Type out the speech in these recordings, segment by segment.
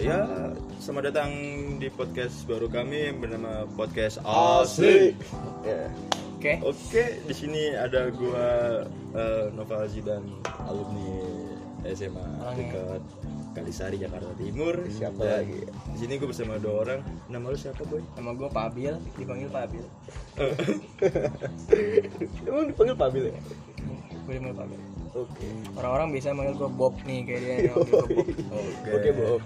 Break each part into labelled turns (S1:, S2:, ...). S1: Ya, selamat datang di podcast baru kami yang bernama Podcast Asli.
S2: Asli.
S1: Ya.
S3: Oke.
S1: Oke, di sini ada gua eh, Noval Zidan, alumni SMA
S3: Orangnya.
S1: dekat Kalisari Jakarta Timur.
S2: Siapa
S1: Dan
S2: lagi?
S1: Di sini gue bersama dua orang. Nama lu siapa, Boy?
S3: Nama gue Pabil, dipanggil Pabil.
S2: Emang dipanggil Pabil ya?
S3: Gue dipanggil Pabil.
S2: Oke.
S3: Orang-orang biasa manggil gue Bob nih kayak dia yang manggil gue Bob.
S1: Oke.
S2: Oke, Bob.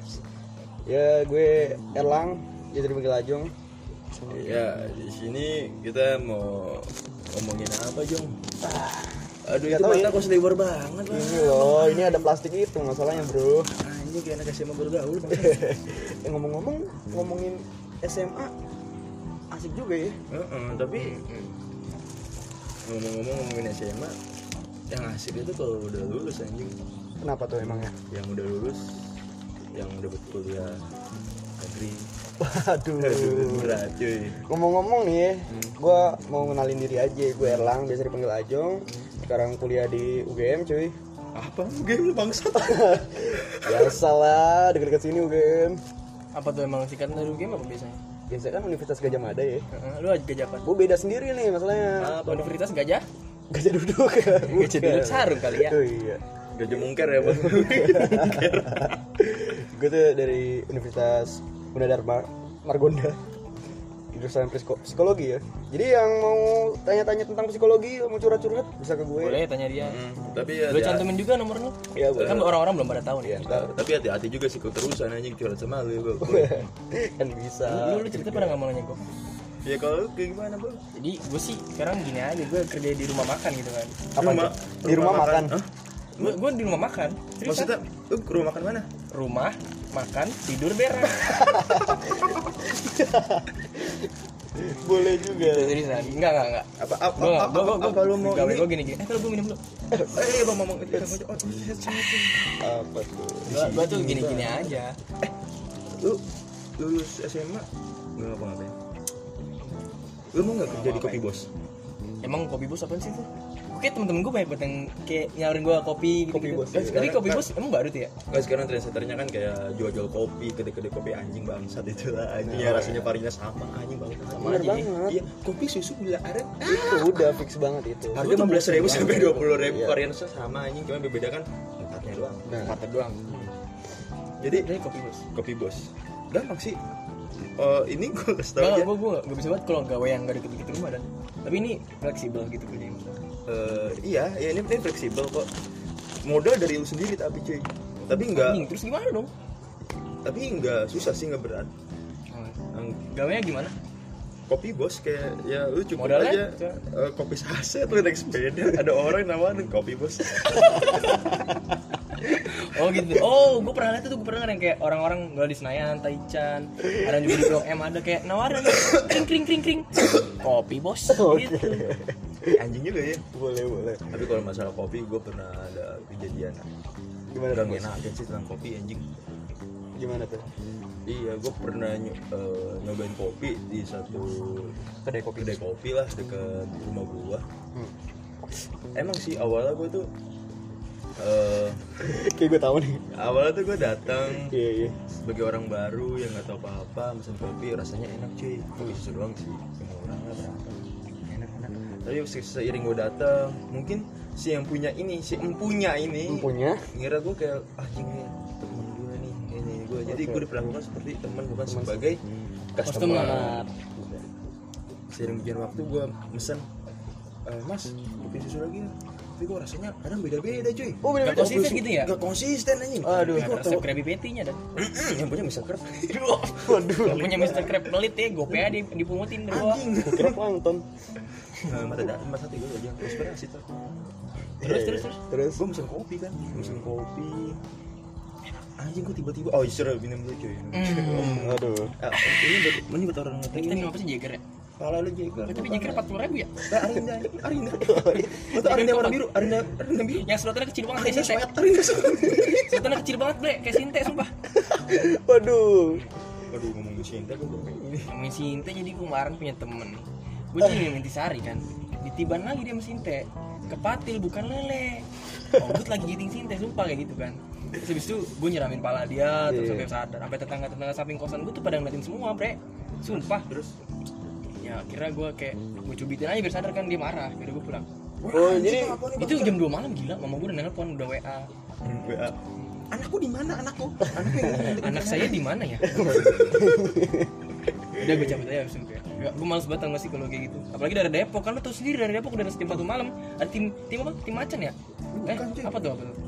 S2: Ya, gue Erlang, jadi dipanggil Ajong.
S1: Ya, di sini kita mau ngomongin apa, Jong? Aduh,
S2: Nggak
S1: itu
S2: tahu
S1: mata
S2: ya.
S1: kok seliwer banget, Bang.
S2: Ini loh, ini ada plastik itu masalahnya, Bro.
S1: Anjing kayak anak SMA bergaul, Bang.
S2: Eh, ngomong-ngomong, ngomongin SMA asik juga ya.
S1: Heeh, tapi ngomong-ngomong ngomongin SMA, yang asik itu kalau udah lulus anjing,
S2: Kenapa tuh emangnya?
S1: yang udah lulus, yang udah berkuliah negeri,
S2: Waduh.
S1: berat cuy.
S2: Ngomong-ngomong nih, ya, gue mau kenalin diri aja. Gue Erlang, biasa dipanggil Ajong. Sekarang kuliah di UGM, cuy.
S1: Apa game lu bangsat?
S2: Biasalah, deket-deket sini UGM.
S3: Apa tuh emang singkatan dari game apa biasanya?
S2: Biasanya kan Universitas Gajah Mada ya.
S3: Heeh, Lu aja gajah apa?
S2: Gue beda sendiri nih masalahnya.
S1: Apa?
S3: Universitas gajah?
S2: Gajah Ah. duduk.
S3: Gajah duduk sarung kali ya.
S2: Oh iya.
S1: Gajah mungkar ya, Bang.
S2: Gue tuh dari Universitas Gunadarma Margonda. Jurusan psiko- psikologi ya. Jadi yang mau tanya-tanya tentang psikologi, mau curhat-curhat bisa ke gue.
S3: Boleh tanya dia.
S1: Hmm, tapi ya
S3: Lu cantumin juga nomor lu.
S2: Iya, boleh.
S3: Kan orang-orang belum pada tahu
S2: Iya,
S3: nih.
S2: ntar.
S1: tapi hati-hati juga sih keterusan anjing curhat sama lu, Bang.
S2: kan bisa.
S3: Lu, lu cerita pada nggak mau nanya gue.
S1: Ya kalau lu kayak gimana, Bang?
S3: Jadi gue sih sekarang gini aja gue kerja di rumah makan gitu kan.
S2: Apa
S1: Rumah-
S2: tuh? Di rumah makan.
S1: Hah?
S3: Gue gue di rumah makan. Seriusan.
S1: Maksudnya, lu ke rumah makan mana?
S3: rumah makan tidur berak.
S2: Boleh juga.
S3: Seriusan? Enggak enggak enggak.
S1: Apa apa
S3: Gue
S1: apa,
S3: gue
S1: apa,
S3: gue
S1: apa lu mau
S3: gawe
S1: ini?
S3: gue gini gini. Eh kalau gue minum dulu.
S1: Eh, iya, Bang, ngomong. Iya, Bang. Oh,
S2: Apa tuh?
S3: Gua, gua tuh gini-gini aja.
S1: lu lulus SMA lu apa ngapain lu mau nggak kerja di kopi bos
S3: Emang kopi bos apa sih tuh? Oke temen-temen gue banyak banget yang kayak nyawarin gue kopi gitu
S2: Kopi bos.
S1: iya.
S3: Tapi kopi bos emang baru tuh ya?
S1: Nggak sekarang trendsetternya kan kayak jual-jual kopi, kede-kede kopi anjing bangsat itu lah anjing ya rasanya parinya sama anjing bangsat sama
S2: Iya. Bener
S1: aja nih.
S2: banget.
S1: Iya, kopi susu gula aren.
S2: Itu udah fix banget itu.
S1: Harga 15.000 sampai 20.000 ribu
S2: Iya.
S1: variannya sama anjing cuma beda kan tempatnya doang.
S2: Nah.
S1: Tempatnya doang. Hmm. Jadi
S3: Dari kopi bos.
S1: kopi bos. Gampang sih. Eh, ini gue kasih tau
S3: Gak,
S1: aja
S3: gue gue gak bisa banget kalau gawe yang gak deket-deket rumah dan. Tapi ini fleksibel gitu gue
S1: Eh, iya, ya ini, ini fleksibel kok. Modal dari lu sendiri tapi cuy. Tapi enggak,
S3: Anjing, terus gimana dong?
S1: tapi enggak susah sih enggak berat. Yang
S3: Gawenya gimana?
S1: kopi bos kayak ya lu cukup
S3: Modalnya?
S1: aja eh, kopi saset lu naik sepeda ada orang namanya kopi bos.
S3: Oh gitu. Oh, gue pernah lihat tuh gue pernah denger yang kayak orang-orang gak di Senayan, Taichan, ada juga di Blok M ada kayak nawarin kring kring kring kring. Kopi bos. Gitu.
S1: Anjing juga ya.
S2: Boleh, boleh.
S1: Tapi kalau masalah kopi gue pernah ada kejadian
S2: Gimana tuh?
S1: kurang
S2: Bos?
S1: enakin sih tentang kopi anjing.
S2: Gimana tuh?
S1: Iya, gue pernah ny- eh, nyobain kopi di satu
S2: Kedai kopi.
S1: kedai kopi lah dekat rumah gua.
S2: Hmm.
S1: Emang sih awalnya gue tuh eh,
S2: Kayak gue tahu nih.
S1: awalnya tuh gue datang
S2: Iya, iya.
S1: sebagai orang baru yang nggak tahu apa-apa mesen kopi rasanya enak cuy kopi susu doang sih lima orang lah berapa enak-enak tapi se- seiring gue datang mungkin si yang punya ini si empunya ini
S2: Punya
S1: ngira gue kayak ah ini temen gue nih ini gue jadi gue diperlakukan seperti teman bukan sebagai customer
S3: Customer.
S1: seiring berjalan waktu gue mesen "Eh, mas kopi susu lagi ya?" tapi gue rasanya kadang beda-beda cuy
S2: Oh,
S3: Gak
S2: bener-bener.
S3: konsisten gitu ya?
S1: Gak konsisten anjing
S2: Aduh.
S1: Tapi gua
S3: Rasa
S1: tahu-
S3: Krabby Patty-nya dan.
S1: yang punya Mr. Krab
S2: Waduh,
S3: Gak punya Mr. Crab pelit ya, gopea di- dipungutin berdua.
S1: anjing
S2: kira plankton.
S1: Eh, mata datar mata hati gue aja terus pernah situ
S3: Terus, terus, terus.
S2: Terus
S1: gue mesen kopi kan Gua mesen kopi anjing gue tiba-tiba oh istirahat minum dulu cuy
S3: Hmm.
S2: aduh.
S1: Eh, ini buat ini buat orang ngetik
S3: Kita
S1: ini
S3: minum apa sih Jager ya?
S1: pala lu jaga
S3: Tapi Jager 40 ribu ya?
S1: Eh, arinda anjing. arinda Lu tau arinda warna biru arinda arinda biru
S3: Yang slotnya kecil banget
S1: Oh,
S3: kayak
S1: iya. arinda
S3: sinte.
S1: sweat arinda sweat
S3: Slotnya kecil banget bre, kayak sinte sumpah.
S2: Waduh.
S1: aduh ngomong gue cinta gue ini
S3: Ngomongin sinte jadi gue kemarin punya temen. Gue jadi minum intisari kan. Ditiban lagi dia sama sinte. Kepatil bukan lele. oh gue lagi ngiting sinte sumpah kayak gitu kan terus habis itu gue nyeramin pala dia terus sampai sadar sampai tetangga tetangga samping kosan gue tuh pada ngeliatin semua bre sumpah
S1: Terus
S3: ya kira gue kayak gue cubitin aja biar sadar kan dia marah biar gue pulang
S2: oh jadi
S3: itu jam 2 malam gila mama gue udah nelpon udah wa
S1: WA. Anakku di mana anakku? Anakku yang
S3: anak saya di mana ya udah gue cabut aja abis itu kayak Gak, gue males banget tau gak sih kalau kayak gitu apalagi dari Depok kan lo tau sendiri dari Depok udah ada tim satu malam ada tim tim apa tim macan ya eh apa tuh apa tuh
S2: kayak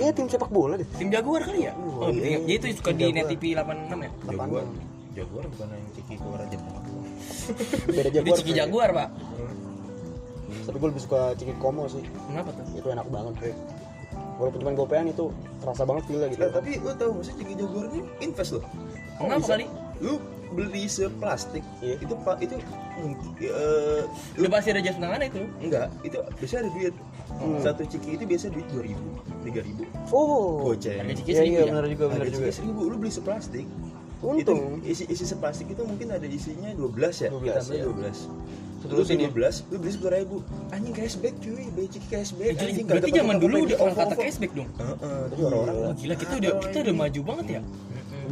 S2: Iya, tim sepak bola deh
S3: tim jaguar kali ya oh, iya, itu suka di net TV 86 ya
S1: Jaguar. Jaguar bukan yang Ciki keluar aja.
S2: beda
S3: jadi
S2: jaguar ya?
S3: ciki
S2: Bre.
S3: jaguar pak
S2: tapi gue lebih suka ciki komo sih
S3: kenapa tuh
S2: itu enak banget Bre. walaupun cuma gopean itu terasa banget feel gitu
S1: Nah, tapi lo tau maksudnya Ciki Jaguar ini invest loh.
S3: kenapa kali
S1: Lu beli seplastik
S2: Iya.
S1: itu pak itu mungkin, eh, lu
S3: udah pasti ada jas tangan itu
S1: enggak itu biasanya ada duit satu ciki itu biasanya duit dua ribu tiga ribu
S2: oh
S1: goceng
S3: harga ciki
S2: iya
S3: seribu
S2: iya
S3: ya
S2: benar juga benar
S1: harga
S2: juga
S1: ciki seribu lu beli seplastik
S2: untung
S1: itu isi isi seplastik itu mungkin ada isinya 12 ya
S2: 12, ya.
S1: 12 lu beli 12 lu beli sepuluh ribu anjing cashback cuy beli ciki cashback
S3: Eh, jadi berarti zaman dulu udah orang kata cashback dong
S1: Heeh, tapi orang-orang
S3: Wah, Oh, gila kita udah kita udah maju banget ya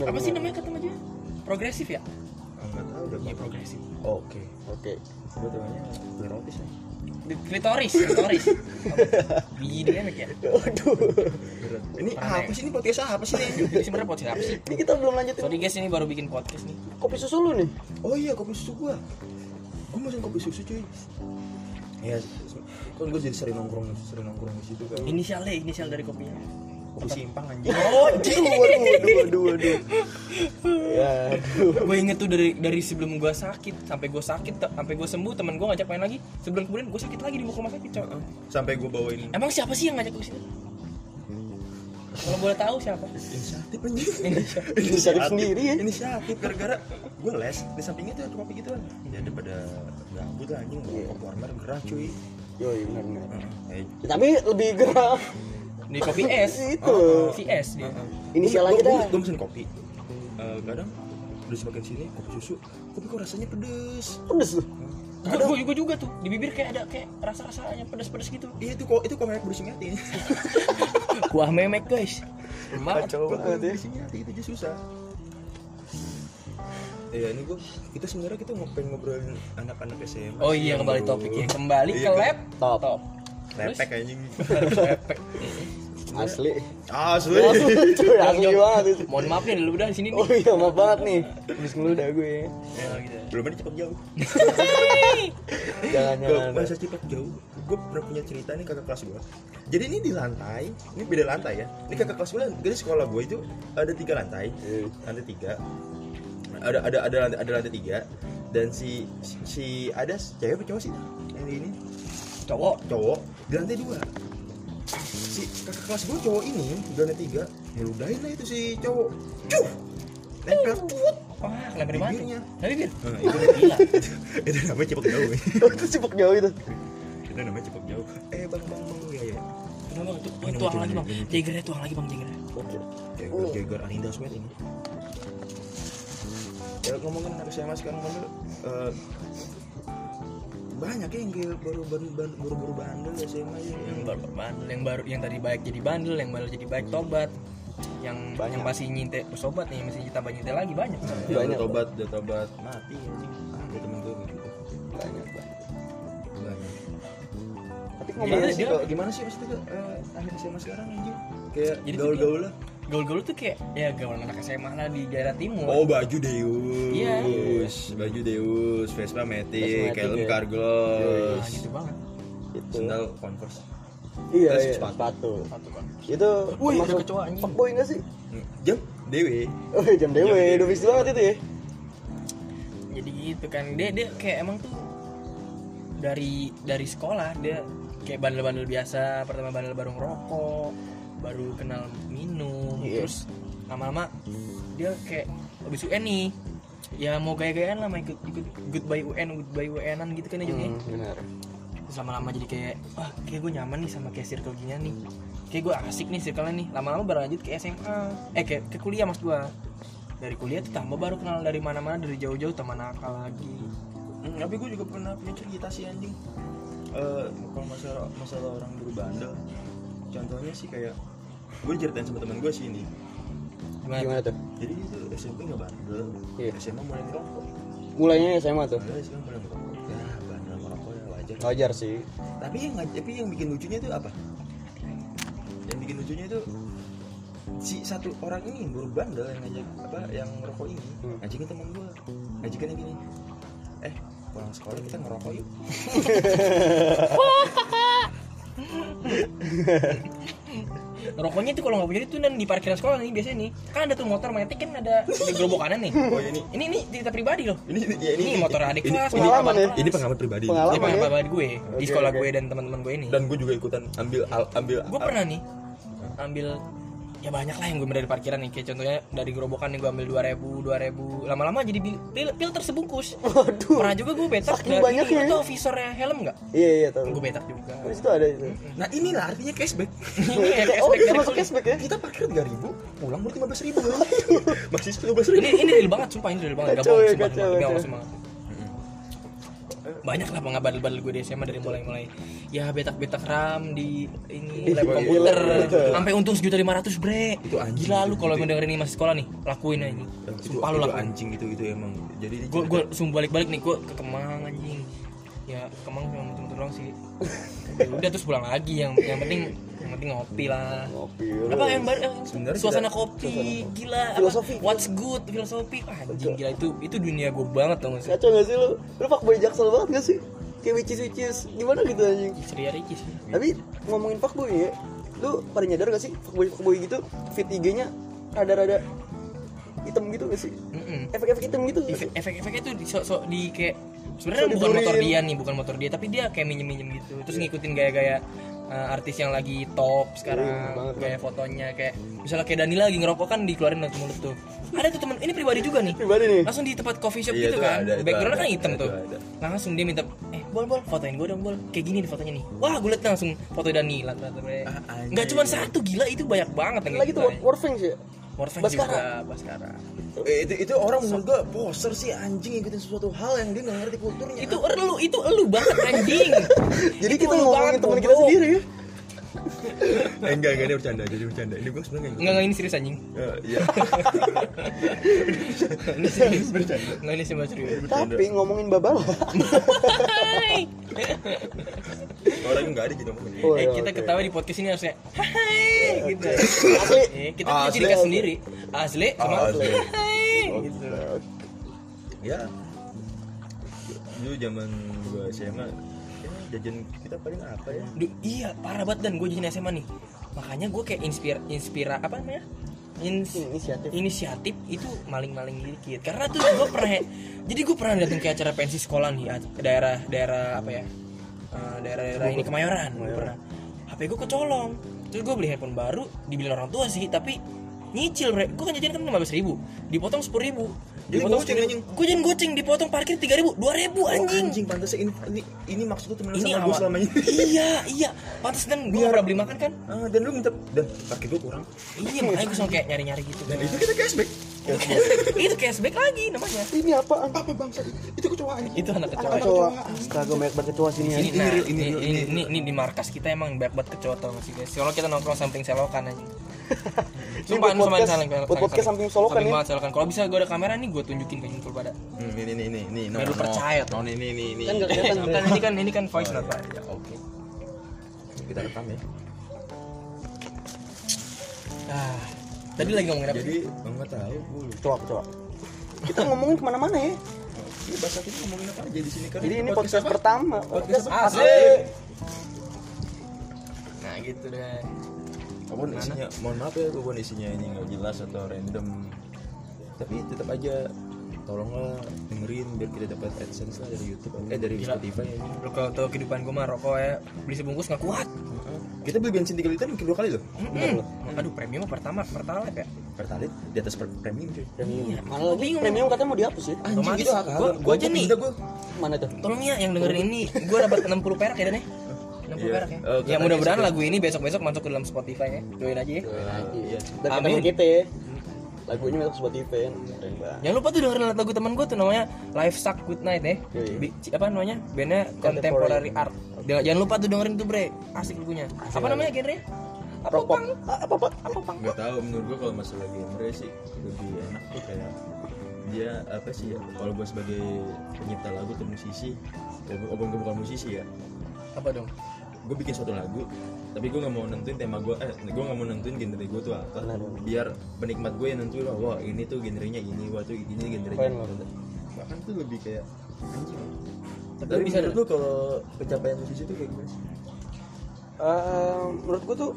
S3: apa sih namanya kata majunya progresif ya
S1: enggak Ah, tahu udah
S3: iya progresif
S1: oke
S2: oke
S1: gua taunya berotis ya
S3: klitoris klitoris biji dia enak ya
S2: aduh
S1: ini apa sih ini podcast apa sih ini
S3: jadi sebenarnya podcast apa sih
S2: ini kita belum lanjutin
S3: sorry guys ini baru bikin podcast nih
S2: kopi susu lu nih
S1: Oh iya kopi susu gua. Gua mesen kopi susu cuy. Ya, kan gua jadi sering nongkrong, sering nongkrong di situ kan.
S3: inisialnya inisial dari kopinya
S1: Kopi simpang anjing.
S3: oh
S2: aduh aduh aduh aduh aduh ya aduh
S3: gue inget tuh dari dari sebelum gue sakit sampai gue sakit te- sampai gue sembuh teman gue ngajak main lagi sebulan kemudian gue sakit lagi di rumah sakit coy
S1: Sampai gua bawain
S3: emang siapa sih yang ngajak gue sini kalau boleh tahu siapa
S1: inisiatif anjing.
S2: Inisiatif sendiri ya.
S1: Inisiatif gara-gara gua les di sampingnya tuh ada kopi gituan. Ya daripada gabut lah anjing bawa ke warmer gerah cuy.
S2: yoi benar benar
S1: Eh,
S2: Ya, tapi lebih gerak
S3: di kopi es Oh,
S2: Itu.
S3: si es dia
S2: inisial aja
S1: Nah, gua-
S2: dah
S1: gua- Gua mesen kopi. Eh, kadang udah semakin sini kopi susu, kopi kok rasanya pedes.
S2: pedes lu
S3: gue juga juga tuh di bibir kayak ada kayak rasa rasa yang pedas pedas gitu
S1: Iya itu kok itu kok kayak berusing hati.
S3: kuah memek guys Maaf.
S2: Kacau banget ya.
S1: isinya hati itu aja susah Iya ini gua kita sebenarnya kita mau pengen ngobrolin anak-anak SMA.
S3: oh iya kembali topiknya kembali
S2: Iya,
S3: ke
S2: kan?
S3: laptop
S2: Top.
S3: Terus?
S1: Lepek Iya, anjing. Ah,
S3: Lepek.
S2: asli
S1: Asli.
S2: Cuy, asli
S3: Jom, jom.
S2: banget itu
S3: mohon maaf nih lu udah di sini nih
S2: oh iya maaf banget nih habis ngeludah gue
S3: Ya, gitu.
S1: Belum ada cepat jauh.
S2: jangan
S1: Gua
S2: jangan
S1: bahasa cepat jauh. Gue pernah punya cerita nih kakak kelas gua Jadi ini di lantai, ini beda lantai ya. Ini kakak kelas gue, jadi sekolah gua itu ada tiga lantai,
S2: Iya.
S1: lantai tiga. Ada ada ada lantai, ada lantai tiga. Dan si si ada cewek apa cowok sih yang di ini
S3: cowok
S1: cowok di lantai dua si kakak kelas gue cowok ini di lantai tiga ngeludahin lah itu si cowok cuh nempel tuh
S3: wah kenapa di mana
S1: Bibirnya.
S3: tapi bir
S1: Nah, itu
S3: gila
S1: itu namanya cepet jauh ya.
S2: itu cipok jauh itu
S1: itu namanya cepet jauh eh bang bang bang ya ya
S3: Kenapa tuh? Oh, tuang lagi bang, jagernya tuang lagi bang, jagernya.
S2: oke
S1: jagar jagar Aninda Sweat ini ya ngomongin anak SMA sekarang kan eh, banyak ya yang kayak baru baru baru baru, baru bandel SMA ya
S3: Yang baru bandel, yang baru yang tadi baik jadi bandel, yang baru jadi baik tobat, yang
S2: Banyak.
S3: yang masih nyintek bersobat nih, masih tambah nyintek lagi banyak.
S2: Banyak.
S1: udah tobat udah tobat Iya, mati ya ada temen gue gitu
S2: banyak banget
S1: banyak
S3: Iya,
S2: tapi
S1: Gimana Iya,
S2: ngomongin
S1: sih
S2: sih
S1: kalau gimana sih maksudnya tuh eh, akhir SMA sekarang anjing? Kayak
S3: Jadi tuh
S1: gaul-gaul
S3: dia-
S1: lah.
S3: Gaul-gaul tuh kayak ya gaul anak SMA lah di daerah timur.
S1: Oh baju Deus.
S3: Iya.
S1: Baju Deus, Vespa Matic, Iya, gitu.
S2: Vespa Matic,
S1: helm
S2: ya.
S1: Carglass,
S3: Nah, gitu banget.
S2: itu
S1: sandal Converse.
S2: iya
S1: tas
S2: iya
S1: sepatu.
S2: sepatu
S3: Satu kan.
S2: itu
S3: Wih, ada
S2: termasuk
S3: kecoa, anjing.
S2: fuckboy nggak sih
S1: Hmm, Jam Dewi.
S2: oh iya, jam dewe udah fix banget itu
S3: Iya.
S2: ya
S3: Jadi gitu kan. Dia dia kayak emang tuh dari dari sekolah dia kayak bandel-bandel biasa, pertama bandel baru ngerokok, baru kenal minum,
S2: Iya.
S3: terus lama-lama dia kayak habis UN nih ya mau gaya-gayaan lah mau ikut ikut goodbye UN goodbye UNan gitu kan ya Jung, ya.
S2: hmm, benar
S3: Terus lama-lama jadi kayak wah kayak gue nyaman nih sama kayak circle gini nih kayak gue asik nih circle nih lama-lama berlanjut ke SMA eh ke, ke kuliah mas gue dari kuliah tuh tambah baru kenal dari mana-mana dari jauh-jauh teman nakal lagi
S1: Hmm, tapi gue juga pernah punya cerita sih anjing. Eh, kalau masalah masalah orang baru bandel contohnya sih kayak gue ceritain sama teman gue sih ini
S3: Gimana?
S2: Gimana tuh?
S1: jadi itu SMP nggak bandel
S2: Iya.
S1: SMA mulai ngerokok
S2: Mulainya SMA tuh.
S1: Padahal SMA mulai ngerokok ya bandel ngerokok ya wajar
S2: Wajar sih.
S1: tapi yang tapi yang bikin lucunya itu apa yang bikin lucunya itu si satu orang ini yang baru bandel yang ngajak apa yang ngerokok ini
S2: Hmm.
S1: ngajakin teman gue ngajakinnya gini eh pulang sekolah kita ngerokok yuk
S3: Rokoknya itu kalau nggak punya itu dan di parkiran sekolah nih biasanya nih. Kan ada tuh motor metik kan ada di gerobok kanan nih.
S1: oh ini
S3: Ini nih cerita pribadi loh.
S1: ini ini ya,
S3: Ini motor adik
S1: ini,
S3: kelas,
S1: ini,
S2: pengalaman ya?
S1: ini pengalaman pribadi
S3: Ini
S2: Pengalaman. ya?
S3: pengalaman gue di
S2: Oke,
S3: sekolah
S2: oke.
S3: gue dan teman-teman gue ini.
S1: dan gue juga ikutan ambil al- ambil
S3: gue pernah nih ambil ya banyak lah yang gue ambil dari parkiran nih kayak contohnya dari gerobokan yang gue ambil 2000 2000 lama-lama jadi bil- pil- filter sebungkus
S2: Waduh.
S3: pernah juga gue betak
S2: Saking
S3: dari
S2: banyaknya ya.
S3: itu visornya helm nggak
S2: Iya iya tahu.
S3: gue betak juga
S2: Di situ ada itu.
S1: nah inilah artinya cashback
S3: ini
S2: Oh,
S3: ya, cashback
S2: bisa
S3: dari
S2: masuk
S3: kulit.
S2: cashback ya?
S1: kita parkir tiga ribu pulang baru lima belas ribu masih sepuluh belas ribu
S3: ini ini real banget sumpah ini real banget nggak
S2: Kacau
S3: bohong
S2: ya,
S3: sumpah
S2: kacau,
S3: sumpah. Demi Allah,
S2: kacau.
S3: sumpah. banyak lah pengabad badal gue di SMA dari mulai mulai ya betak betak ram di ini
S2: Ih,
S3: lab
S2: gila,
S3: komputer
S2: betul.
S3: sampai untung sejuta lima ratus bre
S1: Itu anjing,
S3: gila lu
S1: itu-
S3: kalau
S1: itu-
S3: mendengar ini masih sekolah nih lakuin aja ini
S1: itu,
S3: sumpah lu
S1: itu
S3: lakuin
S1: anjing itu itu emang jadi dia
S3: gue
S1: cerita-
S3: gue sumpah balik balik nih gue ke Kemang anjing ya ke Kemang cuma muter muter doang sih Ya udah terus pulang lagi yang yang penting yang penting ngopi lah
S2: Ngopi.
S3: apa yang baru eh,
S1: Sebenarnya
S3: suasana
S1: tidak-
S3: kopi gila apa,
S2: Filosofi.
S3: what's good filosofi Wah, anjing gila itu itu dunia gue banget tau gak sih
S2: Kacau gak sih lu? Lu fuckboy jaksel banget gak sih? Kayak wicis-wicis Gimana gitu anjing
S3: ceria Ricky sih
S2: Tapi ngomongin fuckboy ya Lu pada nyadar gak sih fuckboy-fuckboy gitu Fit IG-nya rada-rada hitam gitu gak sih?
S3: Mm-mm.
S2: Efek-efek hitam gitu gak sih?
S3: Efek- efek-efeknya tuh di so, so- di kayak
S2: So,
S3: sebenarnya bukan motor
S2: didurin.
S3: dia nih bukan motor dia tapi dia kayak minjem minjem gitu terus ngikutin gaya-gaya uh, artis yang lagi top sekarang
S2: Iya, banget.
S3: gaya fotonya kayak misalnya kayak Dani lagi ngerokok kan dikeluarin dari mulut tuh ada tuh teman ini pribadi juga nih
S2: Pribadi nih
S3: langsung di tempat coffee shop
S1: Iya,
S3: gitu
S1: itu
S3: kan
S1: ada, itu
S3: backgroundnya
S1: ada,
S3: kan hitam
S1: itu
S3: tuh
S1: ada.
S3: langsung dia minta eh bol bol fotoin gue dong bol kayak gini nih fotonya nih wah gue liat langsung foto Dani lah
S1: Ah, anjing.
S3: nggak cuma satu gila itu banyak banget yang
S2: Kan
S3: kayak
S2: Lagi tuh
S3: gitu,
S2: Warfang sih ya?
S3: anjing. Warfeng
S2: Baskara.
S3: juga Baskara
S1: Eh, itu itu orang menurut gua poser sih anjing ngikutin sesuatu hal yang dia nggak ngerti kulturnya
S3: itu elu itu elu banget anjing
S2: Jadi
S3: Itu
S2: kita
S3: elu
S2: ngomongin
S3: banget,
S2: teman kita
S3: goblok.
S2: sendiri ya?
S1: eh, enggak enggak dia bercanda dia bercanda ini gua sebenarnya
S3: Enggak, enggak ini serius anjing.
S1: Eh, iya
S3: Ini serius. Enggak ini serius serius.
S1: Bercanda.
S2: Tapi ngomongin babala
S3: Eh, Hai.
S1: orang nggak ada gitu mungkin
S2: Oh,
S3: eh,
S2: iya,
S3: kita
S2: oke.
S3: ketawa di podcast ini harusnya. Hai gitu.
S2: Asli
S3: Eh, kita punya
S1: Asli,
S3: ciri
S2: asli.
S3: khas
S2: Ah,
S3: sendiri. Asli sama
S1: Asli.
S3: hai.
S2: Gitu.
S1: ya dulu zaman gua SMA ya, jajan kita paling apa ya
S3: Duh, iya, parah banget dan gue jadi SMA nih. Makanya gue kayak inspir inspira apa namanya? Ins
S2: Inisiatif
S3: inisiatif itu maling-maling dikit karena tuh gue pernah jadi gue pernah datang ke acara pensi sekolah nih ac- daerah daerah apa ya Eh, daerah-daerah ini kemayoran gue pernah HP gue kecolong terus gue beli handphone baru dibilang orang tua sih tapi nyicil bre gue kan jajan kan lima belas ribu dipotong sepuluh ribu
S1: Jadi
S3: dipotong
S1: goceng, anjing.
S3: gue jangan goceng dipotong parkir tiga ribu dua ribu anjing
S1: anjing pantas ini ini, ini maksud lu temen lu
S3: ini
S1: sama gua
S3: awal
S1: selama ini
S3: iya iya pantas dan gue pernah beli makan kan
S1: Ah, dan lu minta dan parkir gua kurang
S3: iya makanya gue langsung kayak nyari-nyari gitu Iya.
S1: dan itu kita cashback
S3: itu cashback lagi namanya
S2: Ini apaan?
S1: apa bangsa itu kecoaan
S3: itu anak kecoa
S2: Anak kecoa Astaga banyak banget kecoa sini ya
S3: ini,
S1: Ini
S3: nah,
S1: real,
S3: ini,
S1: ini
S3: ini,
S1: real,
S3: ini,
S1: ini
S3: ini di markas kita emang banyak banget kecoa tau gak sih guys Soalnya kita nongkrong samping selokan aja
S2: Ini buat podcast- buat podcast samping selokan ya.
S3: banget selokan Kalau bisa gue ada kamera nih gue tunjukin ke nyumpul pada
S1: Hmm, ini ini ini ini
S3: Biar lu percaya tuh.
S1: no, ini ini ini
S2: Kan nggak kelihatan
S3: Kan ini kan ini kan voice note Pak.
S1: ya, oke kita rekam ya
S3: Ah, Tadi lagi ngomongin apa sih?
S1: jadi nggak tahu gue lupa.
S2: Kecoa kecoa Kita ngomongin kemana-mana ya
S1: ini bahasa kita ngomongin apa aja di sini kan
S2: Jadi ini podcast pertama
S1: Podcast apa?
S2: asli.
S3: Asik. Nah gitu deh
S1: walaupun isinya mohon maaf ya walaupun isinya ini nggak jelas atau random tapi tetap aja tolonglah dengerin biar kita dapat adsense lah dari YouTube eh dari
S3: Gila.
S1: Spotify ya.
S3: Lu kalau tau kehidupan gue mah rokok ya Beli sebungkus gak kuat
S1: kita beli bensin 3 liter mungkin dua kali loh
S3: Mm-mm. Aduh premium apa pertama pertalite ya
S1: pertalit di atas per premium cuy
S2: Premium. Malah lagi
S3: Bingung.
S2: premium katanya mau dihapus ya.
S3: Otomatis
S1: gitu hak-hak.
S3: gua- gua aja
S1: gua
S3: nih.
S1: pindah, gua.
S2: Mana tuh?
S3: Tolong ya yang dengerin ini, gue dapat 60 perak ya Dan ya. 60
S1: Iya.
S3: perak
S1: Eh,
S3: ya. ya
S1: katanya
S3: mudah-mudahan
S1: sih.
S3: lagu ini besok-besok masuk ke dalam Spotify ya. Doain aja ya.
S1: Iya.
S2: Dan kita
S3: Amin.
S2: mau kita ya. Lagunya masuk Spotify kan. Keren banget.
S3: Jangan lupa tuh dengerin lagu teman gue tuh namanya Life Suck Good Night ya.
S2: Iya, iya.
S3: Bi- ci- apa namanya? Bandnya Contemporary Art. Jangan lupa tuh dengerin tuh bre, asik lagunya. Apa namanya genre?
S2: apa pop apa apa apa pang
S1: nggak tahu menurut gua kalau masalah genre sih lebih enak tuh kayak dia apa sih ya kalau gua sebagai penyipta lagu atau musisi walaupun walaupun gua bukan musisi ya
S3: apa dong
S1: gue bikin suatu lagu tapi gue nggak mau nentuin tema gue eh gue nggak mau nentuin genre gue tuh apa biar penikmat gue yang nentuin wah ini tuh genrenya ini wah tuh ini
S2: Keren
S1: genrenya
S2: loh.
S1: itu." bahkan tuh lebih kayak anjing
S3: tapi
S1: tapi
S3: lu bisa
S1: menurut lu kalau pencapaian musisi itu kayak gimana sih?
S2: Eh, menurut gua tuh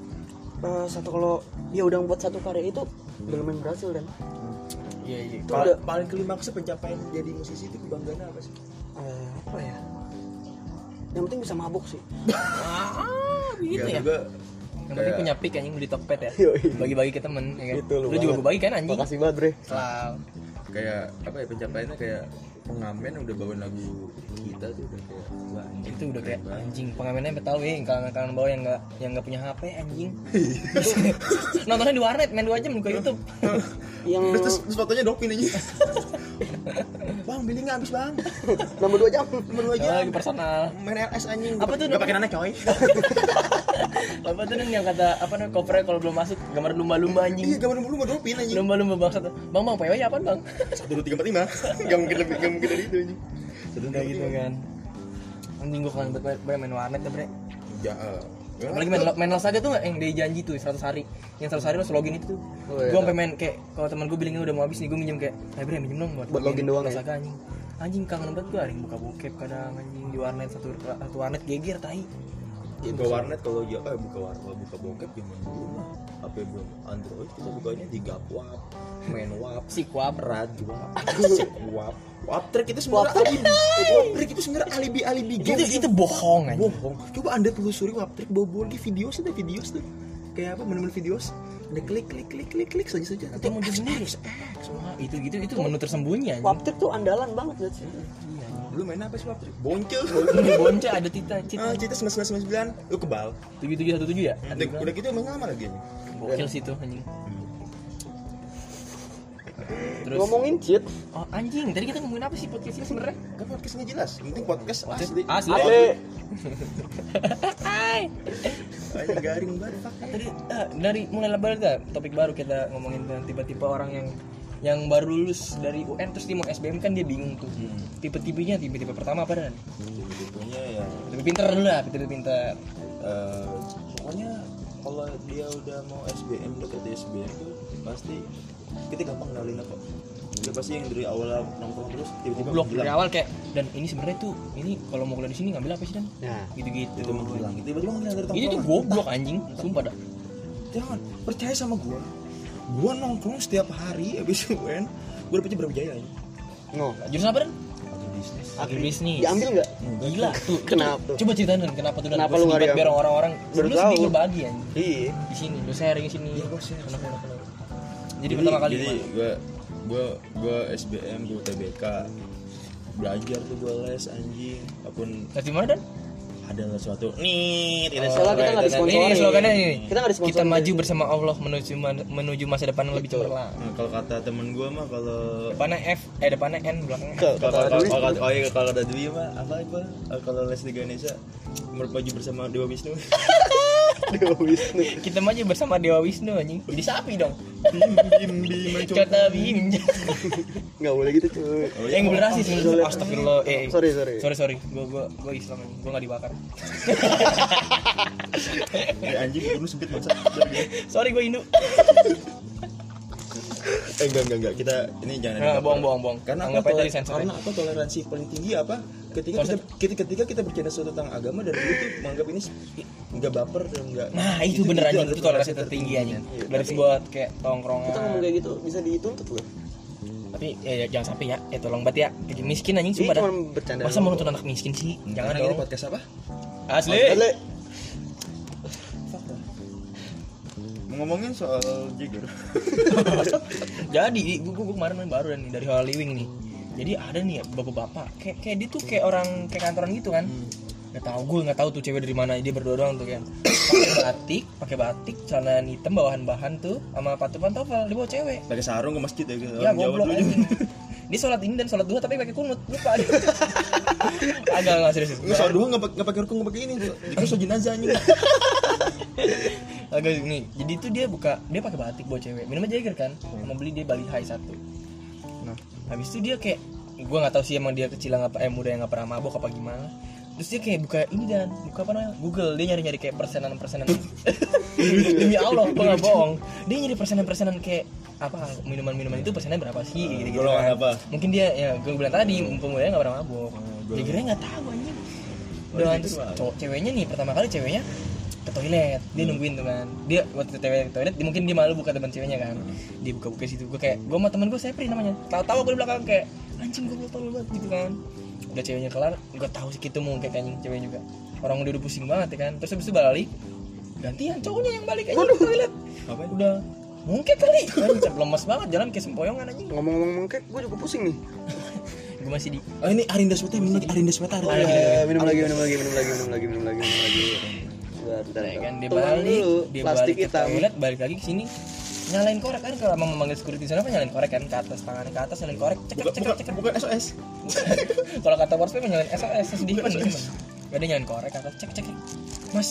S2: eh, satu kalau dia udah buat satu karya itu udah lumayan berhasil dan
S3: iya iya
S2: itu udah
S1: paling klimaksnya pencapaian jadi musisi itu kebanggaan apa sih?
S2: eh, apa ya yang penting bisa mabuk sih
S3: ah gitu ya
S1: juga
S3: yang penting punya pick anjing beli tokped ya
S2: Yoi.
S3: bagi-bagi ke temen ya kan?
S2: Itu lu
S3: lu juga
S2: banget.
S3: gue bagi kan anjing
S2: makasih banget bre
S3: Selalu.
S1: kayak apa ya pencapaiannya kayak pengamen udah bawain lagu kita tuh udah kayak wah anjing
S3: itu udah
S1: keren
S3: kayak
S1: banget.
S3: anjing pengamennya betal weh kalangan kalangan bawah yang nggak yang nggak punya hp anjing nontonnya di warnet main dua jam buka youtube
S2: yang
S1: terus, terus, terus fotonya dopin aja bang beli nggak habis bang
S2: nomor dua jam
S1: nomor dua
S3: Oh,
S1: aja
S3: lagi personal
S1: main LS anjing
S3: Apa tuh
S1: nggak
S3: namanya?
S1: pakai nana coy
S3: apa tuh Neng, yang kata apa namanya covernya kalau belum masuk gambar lumba-lumba
S1: iya
S3: anjing
S1: gambar nomor lu mah dopin anjing
S3: lumba-lumba bangsa bang bang pw apaan bang
S1: satu dua tiga empat lima nggak mungkin lebih nggak mungkin dari itu anjing satu
S3: udah gitu kan anjing gue kangen banget bre, main warnet ya bre
S1: ya eh. Ya,
S3: apalagi main, main Los Saga tuh nggak yang dari janji tuh 100 hari yang 100 hari harus login itu tuh
S2: Oh, iya.
S3: gue sampai main kayak kalau teman gue bilangnya udah mau habis nih gue minjem kayak eh bre minjem dong buat,
S2: Buat login doang
S3: Los
S2: ya?
S3: Saga anjing anjing kangen banget gue hari buka bokep kadang anjing di warnet satu satu warnet geger tai
S1: buka warnet kalau ya eh buka warnet buka bokep zaman dulu mah apa ya, belum android kita bukanya di gapwap main wap
S3: si kuap
S1: radwap wap wap trek itu sebenarnya
S2: Waptrek.
S1: alibi wap trek itu sebenarnya alibi alibi
S3: itu
S1: gitu
S3: itu bohong anjing
S1: bohong coba anda telusuri wap trek bawa bawa lagi video sudah video sudah kayak apa menu-menu video anda klik klik klik klik klik saja saja
S3: itu muncul sendiri Wah, itu gitu itu menu tersembunyi anjing
S2: wapter tuh andalan banget Zat.
S3: Iya,
S1: lu main apa sih wap trek boncel
S3: anjing. Ini bonca ada tita cita
S1: Ah, cerita sembilan sembilan sembilan lu kebal
S3: tujuh tujuh satu tujuh ya
S1: udah, udah gitu emang lama lagi anjing.
S3: bokil sih tuh anjing terus
S2: ngomongin cheat
S3: oh anjing tadi kita ngomongin apa sih podcast ini sebenarnya
S1: kan podcast nggak jelas yang penting podcast asli
S3: asli.
S2: asli
S3: Hai.
S1: Anjing, garing banget Pak.
S3: Tadi eh, dari mulai lebar gak topik baru kita ngomongin tentang tipe-tipe orang yang yang baru lulus dari UN terus dia mau SBM kan dia bingung tuh.
S2: Hmm.
S3: Tipe-tipenya tipe-tipe pertama apa dan?
S1: Sebetulnya ya
S3: Lebih pinter dulu lah, pinter pinter.
S1: eh, pokoknya kalau dia udah mau SBM deket SBM tuh pasti kita gampang kenalin apa. Dia pasti yang dari awal nongkrong terus tiba-tiba
S3: Blok dari
S1: menghilang.
S3: awal kayak dan ini sebenarnya tuh ini kalau mau kuliah di sini ngambil apa sih dan?
S2: nah
S3: Gitu-gitu.
S1: Itu menghilang. Itu tiba-tiba menghilang dari
S2: Iya,
S3: Ini tuh
S1: tongkrongan.
S3: goblok anjing, sumpah dah.
S1: Jangan percaya sama gua. Gua nongkrong setiap hari abis UN. Gua dapetnya berapa jaya ya?
S2: no
S3: Jurusan apa dan?
S1: Atau bisnis.
S3: Agribisnis.
S2: diambil nggak
S3: Gila tuh.
S2: Kenapa?
S3: Coba ceritain Dan, kenapa tuh dan?
S2: Kenapa
S3: Gua
S2: lu
S3: sedih
S2: nggak
S3: banget biar
S2: diambil?
S3: orang-orang
S2: Baru
S3: sebelum sedih
S2: tahu.
S3: berbagi anjing.
S2: iya
S3: Di sini, lu sharing di sini.
S1: Iya, gua share, share, share.
S3: Jadi, pertama kali
S1: jadi
S3: gimana?
S1: gue gue gue SBM gue TBK belajar tuh gue les anjing apapun
S3: Dari mana Nah, dan?
S1: ada sesuatu gitu. nih tidak
S2: Soalnya kita nggak
S3: Ini, ini
S2: Sponsorin.
S1: gitu kan.
S3: slogannya ini.
S2: Kita nggak disponsorin.
S3: Kita maju bersama Allah menuju man- menuju masa depan yang lebih
S2: Betul.
S3: cemerlang.
S1: Nah, kalau kata temen gue mah kalau
S3: Depannya F, eh depannya N, belakangnya.
S2: Ke-
S1: kalau
S2: kata
S1: kalau-
S2: Dwi.
S1: kalau- oh iya kalau ada Dwi mah apa apa Eh, kalau les di Ganesha merpaju bersama Dewa Wisnu Oh,
S2: Dewa Wisnu
S3: Kita maju bersama Dewa Wisnu anjing. Jadi sapi dong.
S1: bim bim bim
S3: Kata bim.
S2: nggak boleh gitu cuy
S1: Oh, iya.
S3: Yang gue rasis
S2: Sorry.
S3: Astagfirullah. Eh, eh.
S2: Sorry, sorry.
S3: Sorry, sorry. Gua gua gua Islam. anjing. Gua enggak dibakar.
S1: Eh, anjing gue sempit masa
S3: sorry gua Hindu.
S1: eh enggak enggak enggak kita ini jangan
S3: Nah,
S1: dibaper.
S3: bohong bohong bohong.
S1: karena
S3: Anggap
S1: apa,
S3: aja
S1: tole-
S3: dari sensor.
S1: karena apa toleransi paling tinggi apa ketika kita, ketika, ketika kita bercanda sesuatu tentang agama dan itu menganggap ini nggak baper dan nggak
S3: Nah, itu bener anjing. Itu toleransi tertinggi anjing.
S2: Iya,
S3: Dari
S2: tapi-
S3: sebuah kayak tongkrongan.
S2: kita ngomong kayak gitu bisa dituntut loh
S3: tapi ya, ya, jangan sampai ya ya tolong banget ya Jadi miskin anjing
S2: Ini
S3: sumpah dah
S2: cuma Iya, bercanda
S3: masa
S2: doang.
S3: mau nonton anak miskin sih jangan
S1: jangan ini
S3: dong
S1: podcast apa
S3: asli
S2: Asli.
S1: ngomongin soal jigger
S3: jadi gue gue kemarin main baru dan nih, dari Hollywood nih jadi ada nih ya bapak-bapak kayak kayak dia tuh kayak orang kayak kantoran gitu kan
S2: Hmm.
S3: nggak tahu gue nggak tahu tuh cewek dari mana dia berdua doang tuh kan pakai batik pakai batik celana hitam bawahan bahan tuh sama sepatu pantofel dia bawa cewek
S1: pakai sarung ke masjid ya gitu
S3: ya
S1: Orang Jawa
S3: goblok
S1: dulu
S3: anjing dia sholat ini dan sholat dua tapi pakai kunut lupa agak nggak serius
S1: Nggak, soal dua nggak pakai nggak pakai rukun nggak pakai ini Itu soal jenazah anjing
S3: agak nih jadi itu dia buka dia pakai batik buat cewek minumnya Jagger kan
S1: Hmm.
S3: mau beli dia Bali High satu nah habis itu dia kayak gue nggak tahu sih emang dia kecil apa eh muda yang nggak pernah mabok apa gimana terus dia kayak buka ini dan buka apa namanya Google dia nyari nyari kayak persenan persenan demi Allah gue nggak bohong dia nyari persenan persenan kayak apa minuman minuman itu persennya berapa sih gitu,
S1: Eh, golongan apa? Hmm.
S3: mungkin dia ya gue bilang tadi mumpung dia nggak pernah mabok
S1: golongan.
S3: Jaggernya nggak tahu anjing
S1: Oh,
S3: dan
S1: gitu
S3: terus
S1: doang.
S3: cowok ceweknya nih pertama kali ceweknya ke toilet dia nungguin tuh kan dia waktu cewek ke toilet dia mungkin dia malu buka teman ceweknya kan dia buka buka situ gue kayak gue sama temen gue Sepri namanya tahu-tahu gue di belakang kayak anjing gue tolol banget gitu kan udah ceweknya kelar gue tahu sih gitu mungkin kayak anjing cewek juga orang udah, udah pusing banget ya kan terus habis itu balik gantian cowoknya yang balik aja ke toilet
S1: Apa?
S3: udah mungkin kali Anjing, lemes banget jalan kayak sempoyongan anjing
S2: Ngomong-ngomong mungkin gue juga pusing nih.
S3: gue masih di
S1: Oh ini Arinda Sweta minum lagi Arinda Sweta Arinda.
S2: Ya,
S3: Iya,
S1: Sweta.
S2: minum lagi, minum lagi, minum lagi, minum lagi, minum lagi, minum lagi. Bentar, bentar,
S3: Ya
S2: bentar.
S3: kan dia
S2: Tuang
S3: balik,
S2: dulu
S3: dia
S2: plastik
S3: balik ke
S2: hitam.
S3: toilet, balik lagi ke sini nyalain korek kan kalau mau memanggil security sana apa nyalain korek kan ke atas tangannya ke atas nyalain korek cekak
S1: Bukan,
S3: cekak
S1: bukan,
S3: cekak
S1: bukan SOS.
S3: kalau kata Warspay mah nyalain SOS sedih kan gimana gak ada nyalain korek ke atas cek cek cek. mas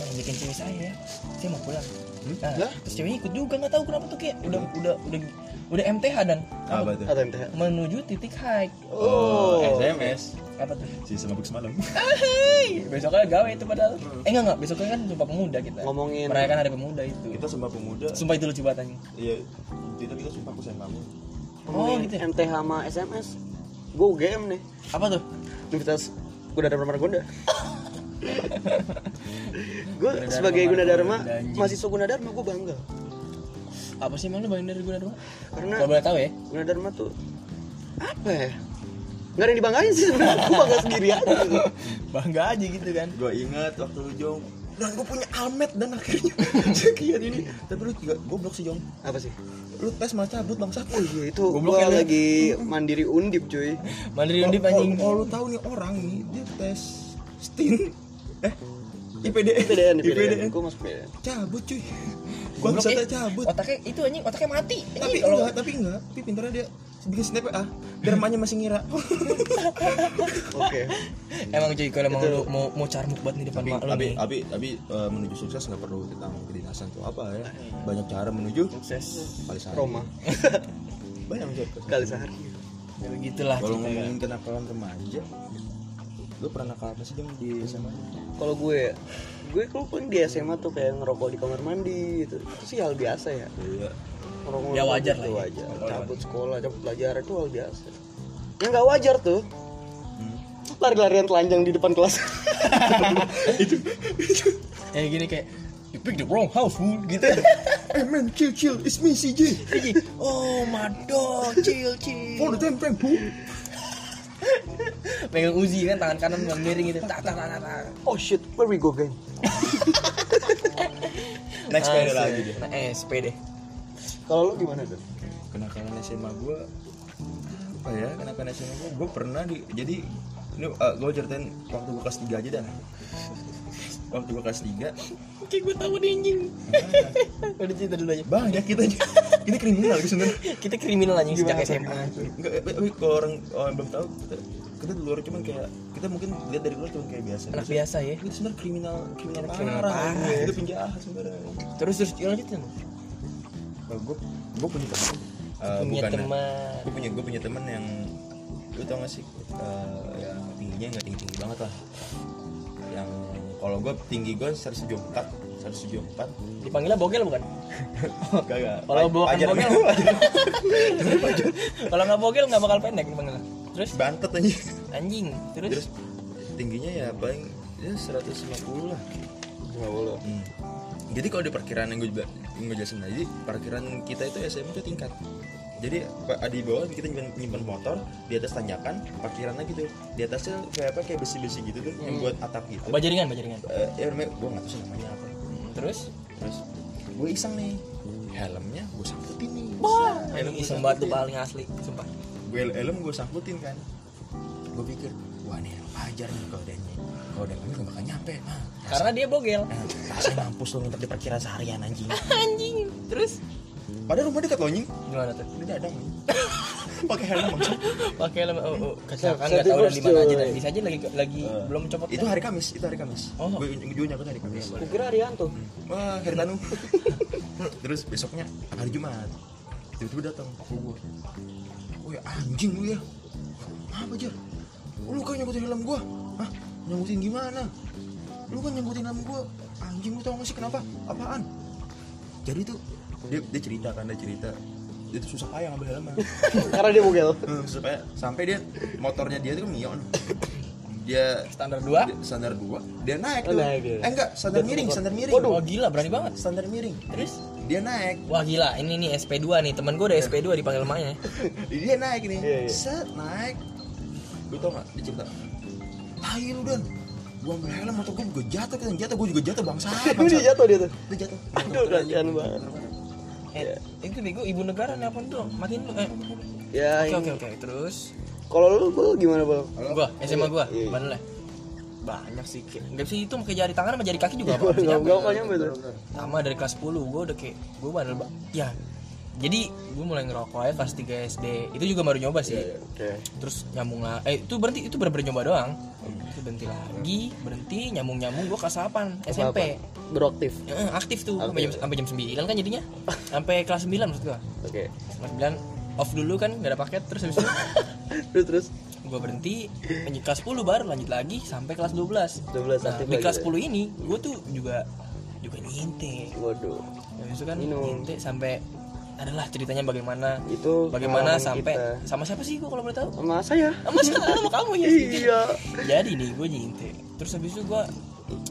S3: jangan bikin cewek saya ya saya mau pulang nah,
S2: Hmm? Lah?
S3: terus ceweknya ikut juga nggak tahu kenapa tuh kayak udah udah udah udah MTH dan
S1: Apa tuh?
S2: Atau MTH.
S3: menuju titik hike
S1: Oh,
S2: Oh.
S1: SMS.
S3: apa tuh
S1: Si semabuk semalam.
S3: Ahai, besoknya gawe itu padahal eh enggak enggak besoknya kan sumpah pemuda kita
S2: Hmm. Ngomongin-
S3: merayakan hari pemuda itu
S1: Kita sembah pemuda.
S3: sumpah itu lucu banget anjing.
S1: Iya, kita kita sumpah aku sayang kamu.
S3: oh
S2: Ngomongin
S3: gitu ya?
S2: MTH sama SMS. Gue UGM nih.
S3: apa tuh
S2: Universitas Gunadarma Margonda. gue sebagai Gunadarma,
S3: Margonda, anjing.
S2: mahasiswa Gunadarma gue bangga.
S3: apa sih emang lu bagian dari guna dua?
S2: Karena
S3: Kalau boleh tahu ya.
S2: Gunadarma tuh apa ya? Gak ada yang dibanggain sih sebenarnya. Gue bangga sendiri aja gitu.
S3: Bangga aja gitu kan.
S1: Gue ingat waktu lu jong dan gue punya almet dan akhirnya sekian ini tapi lu juga goblok sih jong
S2: Apa sih?
S1: lu tes malah cabut bangsat
S2: Oh iya itu gue
S3: Goblok ya, lu.
S2: lagi mandiri undip cuy.
S3: Mandiri
S1: Kalau-
S3: undip
S1: kalau-
S3: anjing.
S1: Kalau lu tahu nih orang nih dia tes STIN eh IPDN
S2: IPDN, IPDN. Gue masuk IPDN.
S1: cabut cuy.
S3: Goblok,
S1: Bangsatnya
S3: eh.
S1: cabut.
S3: Otaknya itu anjing, otaknya mati.
S1: Tapi
S3: kalau
S1: enggak, tapi enggak. Tapi pintarnya dia bikin snap ah. Biar emaknya masih ngira.
S2: Oke.
S3: emang cuy kalau emang lu mau mau carmuk banget nih depan mak lu
S1: Abi,
S3: nih.
S1: abi, abi eh, menuju sukses nggak perlu tentang kedinasan tuh apa
S3: Nah.
S1: ya? Banyak cara menuju
S3: Sukses.
S1: kali sehari.
S2: Roma.
S1: Banyak cara.
S2: Kali sehari.
S3: Ya Hmm. begitulah
S1: Kalau
S3: cerita.
S1: ngomongin kenakalan remaja, lu pernah nakal apa sih Jung, di SMA?
S2: Kalau gue gue kalau pun di SMA tuh kayak ngerokok di kamar mandi gitu. Itu sih hal biasa ya.
S1: Iya.
S2: Ngerokok
S3: Ya, wajar
S2: itu
S3: lah ya.
S2: wajar. Cabut sekolah, cabut pelajaran itu hal biasa. Yang nggak wajar tuh
S3: Hmm.
S2: lari-larian telanjang di depan kelas.
S3: Ya gini kayak You pick the wrong house, fool. Gitu.
S1: Eh man, chill chill, it's me CJ.
S3: oh, mado, chill, chill.
S1: For the time frame, boo.
S3: Pegang Uzi kan tangan kanan nggak miring gitu. Tak tak tak tak, tak.
S2: oh shit, where we go gang?
S1: Next
S3: Asik.
S1: periode lagi deh.
S3: Nah, eh, SPD.
S2: Kalau lu gimana tuh?
S1: kenakalan SMA gue apa ya kenakalan SMA gue gue pernah di jadi ini uh, gue ceritain waktu gue kelas 3 aja dah waktu gue kelas 3
S3: Oke, gue tahu nih anjing. Udah cerita dulu aja.
S1: banyak kita ini kriminal gitu sebenarnya
S3: Kita kriminal anjing sejak
S2: Gimana,
S3: SMA.
S2: gimana?
S1: Enggak, tapi tapi kalau orang orang belum tahu kita kita di luar cuman kayak kita mungkin lihat dari luar cuman kayak biasa
S3: Anak biasa ya.
S1: itu sebenarnya kriminal kriminal parah,
S3: Kriminal parah.
S1: itu penjahat sebenarnya
S3: Terus terus lanjutin.
S1: nah, gue gue punya teman Eh,
S3: Punya
S1: bukan-
S3: teman.
S1: gue punya gue punya temen yang lu tau gak sih eh, yang tingginya nggak tinggi tinggi banget lah yang kalau gue tinggi gue 174 174
S3: Dipanggilnya bogel bukan?
S1: kagak
S3: Kalau bukan
S1: Pajar.
S3: bogel. Kalau nggak bogel nggak bakal pendek dipanggilnya. Terus
S1: bantet aja
S3: anjing,
S1: terus
S3: terus
S1: tingginya ya paling ya 150 lah
S2: Gak boleh.
S1: Hmm. Jadi kalau di perkiraan yang gue, juga- yang gue jelasin tadi, perkiraan kita itu SMA itu tingkat. Jadi pa- di bawah kita nyimpen, nyimpen motor, di atas tanjakan, parkirannya gitu. Di atasnya kayak apa kayak besi-besi gitu tuh yang
S3: Hmm.
S1: buat atap gitu.
S3: bajaringan, bajaringan.
S1: Eh, ya namanya gue nggak tahu sih namanya apa.
S3: Terus
S1: Terus gue iseng nih, helmnya gue sangkutin nih.
S3: anjing
S1: gua
S3: iseng banget tuh
S1: sangkutin.
S3: paling asli, sumpah.
S1: Gue helm gue sangkutin kan. Gue pikir, wah nih helm pajar nih kalau dia nih. Kalau dia nggak bakal nyampe. Ah,
S3: Karena dia bogel.
S1: Rasanya mampus lo nginep di parkiran seharian anjing.
S3: Anjing. Terus
S1: Padahal rumah dekat loh anjing.
S3: gimana tuh
S1: Ini ada anjing. Pakai helm maksud.
S3: pakai lem oh, oh kecelakaan
S2: Safety
S3: nggak tahu dari
S2: first,
S3: mana aja
S2: coy.
S3: dah. bisa aja lagi lagi
S1: Eh.
S3: belum copot
S1: Itu hari Kamis, itu hari Kamis.
S3: Oh.
S1: Gue gue nyangkut hari Kamis.
S2: Kukira Arianto.
S1: Wah, hari Tanu. Terus besoknya hari Jumat. Tiba-tiba datang ke gua. Woi, anjing lu ya. Apa, Jar? Lu kan nyangkutin helm gua. Hah? Nyangkutin gimana? Lu kan nyangkutin helm gua. Anjing lu tau gak sih kenapa? Apaan? Jadi tuh dia, dia cerita kan dia cerita dia tuh susah payah ngambil helmnya
S2: Karena dia bugel.
S1: Eh, susah payah sampai dia motornya dia tuh kan Mio dia
S3: standar dua
S1: dia standar dua dia naik tuh
S2: Naik dia.
S1: eh enggak standar miring standar miring
S3: wah gila berani banget
S1: standar miring
S3: terus
S1: dia naik
S3: wah gila ini nih SP2 nih temen gue udah SP2 dipanggil emaknya
S1: dia naik nih
S2: Iya, iya.
S1: set naik lu tau gak dicerita tai lu dan gua ambil helm motor gua juga jatuh kan jatuh gua juga jatuh bangsa
S2: Aduh dia
S1: bangsa
S2: jatuh dia tuh.
S1: lu jatuh
S2: Aduh, kasihan banget.
S3: eh, itu bego ibu negara nelpon tuh matiin lu eh
S2: Ya,
S3: oke
S2: ini-
S3: oke oke terus
S2: kalau lu Bel, gimana bal?
S3: gua SMA gua
S2: Iya.
S3: mana lah banyak sih kayak nggak bisa hitung pakai jari tangan sama jari kaki juga apa
S2: Gak gak apa ya? nyampe tuh.
S3: sama dari kelas 10 gue udah kayak gue bandel banget ya jadi gue mulai ngerokok aja kelas 3 SD itu juga baru nyoba sih
S2: Oke.
S3: terus nyambung lah eh itu berhenti itu bener-bener nyoba doang
S2: Hmm.
S3: Terus berhenti lagi berhenti nyambung nyambung gue kelas 8 SMP
S2: Beraktif.
S3: Heeh, aktif tuh sampai jam
S2: Aktif.
S3: sampai jam 9 kan jadinya sampai kelas 9 maksud gue
S2: Oke.
S3: kelas 9 off dulu kan gak ada paket terus habis itu
S2: Terus terus
S3: gue berhenti lanjut kelas 10 baru lanjut lagi sampai kelas
S2: 12
S3: 12 nah,
S2: aktif
S3: di
S2: lagi
S3: kelas
S2: ya?
S3: 10 ini gue tuh juga juga nyintik
S2: waduh.
S3: Habis itu kan
S2: Minum.
S3: ngintip sampai adalah ceritanya bagaimana
S2: Itu pengalaman
S3: bagaimana sampai
S2: kita.
S3: sama siapa sih gua kalau boleh tahu?
S2: sama saya.
S3: Sama siapa? Sama kamu ya.
S2: Iya.
S3: Jadi nih gue nyintik. Terus habis itu gue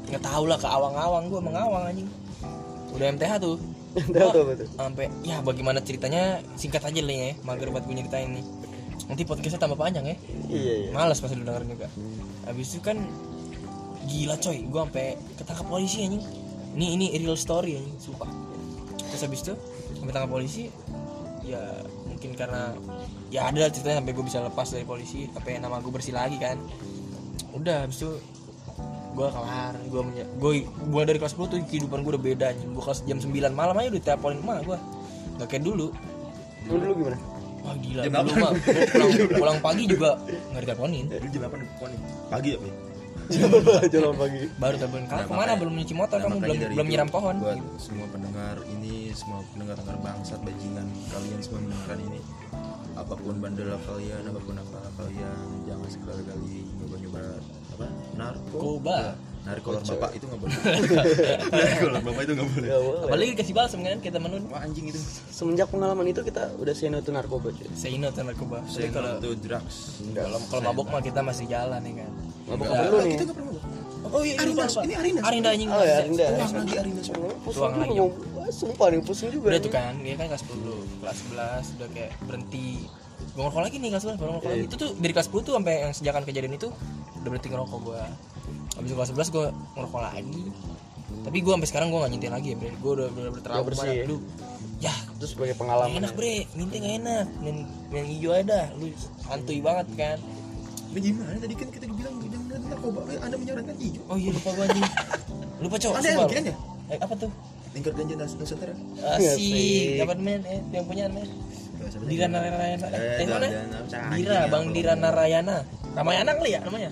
S3: nggak tahu lah ke awang-awang gue mengawang anjing. Udah MTH tuh.
S2: Tahu tuh apa tuh?
S3: Sampai ya bagaimana ceritanya singkat aja lah ya. Mager buat gue nyeritain nih. Nanti podcastnya tambah panjang ya.
S2: Iya iya.
S3: Males pasti lu dengerin juga. Habis itu kan gila coy, gua sampai ketangkap polisi anjing. Ini ini real story anjing, sumpah. Terus habis itu sampai tangkap polisi ya mungkin karena ya ada ceritanya sampai gue bisa lepas dari polisi sampai nama gue bersih lagi kan udah habis itu gue kelar gue gue mulai dari kelas 10 tuh kehidupan gue udah beda anjing gue kelas jam 9 malam aja udah teleponin emak gue gak kayak dulu
S2: Lu dulu gimana?
S3: wah gila
S1: Jam
S3: dulu
S1: delapan.
S3: mah gua pulang, pulang pagi juga nggak diteleponin
S1: lu jam berapa nih pokoknya pagi ya Boy?
S2: Jalan pagi.
S3: baru tabelin kamu
S1: Nah,
S3: kemana
S1: makanya-
S3: belum nyuci motor
S1: nah,
S3: kamu
S1: makanya
S3: belum
S1: dari
S3: belum
S1: itu,
S3: nyiram pohon
S1: buat
S3: Gitu.
S1: semua pendengar ini semua pendengar pendengar bangsat bajingan kalian semua mendengarkan ini apapun bandel kalian apapun apa kalian jangan sekali-kali nyoba-nyoba apa narkoba
S3: Koba.
S1: Iya. narkolor bapak itu nggak boleh narkolor bapak itu nggak boleh
S2: Ya, boleh.
S3: apalagi dikasih balsam kan kita menun
S1: wah anjing itu
S2: Semenjak pengalaman itu kita udah say no to narkoba cuy.
S3: saya ingat sama narkoba
S1: saya
S3: Tapi kalau
S1: itu drugs
S3: kalau kalau mabok mah kita masih jalan ya kan
S2: Mabok
S1: Nggak,
S2: apa dulu nih?
S1: kita nggak pernah mabok
S3: oh iya
S1: Arinda,
S3: lupa, lupa.
S1: ini Arinda.
S3: Arinda anjing
S2: Oh ya,
S3: Arinda.
S2: Rinda.
S1: Ulang lagi Arina semua
S2: Pusing
S3: Tuang lagi.
S2: juga. Wah, Sumpah nih, pusing juga.
S3: udah tuh
S2: nih.
S3: kan dia kan kelas 10 kelas 11 udah kayak berhenti gue ngerokok lagi nih kelas 11 baru ngerokok
S1: Iya.
S3: lagi itu tuh dari kelas 10 tuh sampai yang sejak kejadian itu udah berhenti ngerokok gue habis itu kelas 11 gue ngerokok lagi tapi gue sampai sekarang gue gak nyentil lagi ya bre gue udah udah bertrauma
S2: bersih ya?
S3: dulu ya
S2: Terus sebagai
S3: Gak
S2: pengalaman. ya,
S3: enak bre, minta gak enak Main, main hijau aja dah, lu santuy banget kan
S1: ini gimana tadi kan kita bilang jangan melihat narkoba Eh, anda menyarankan hijau
S3: Oh iya lupa gua anjing Lupa cowok
S1: Ada yang
S3: sumpah lu.
S1: bikin ya?
S3: Eh, apa tuh? Eh,
S1: lingkar ganja nas- nusantara
S2: Asik.
S3: Asik, dapat men, eh, yang punya men Dira Narayana,
S1: Eh,
S3: eh, eh, mana?
S1: Narayana, cah,
S3: Dira,
S1: anjing,
S3: Bang
S1: apa
S3: Dira
S1: lu?
S3: Narayana Ramayana kali ya namanya?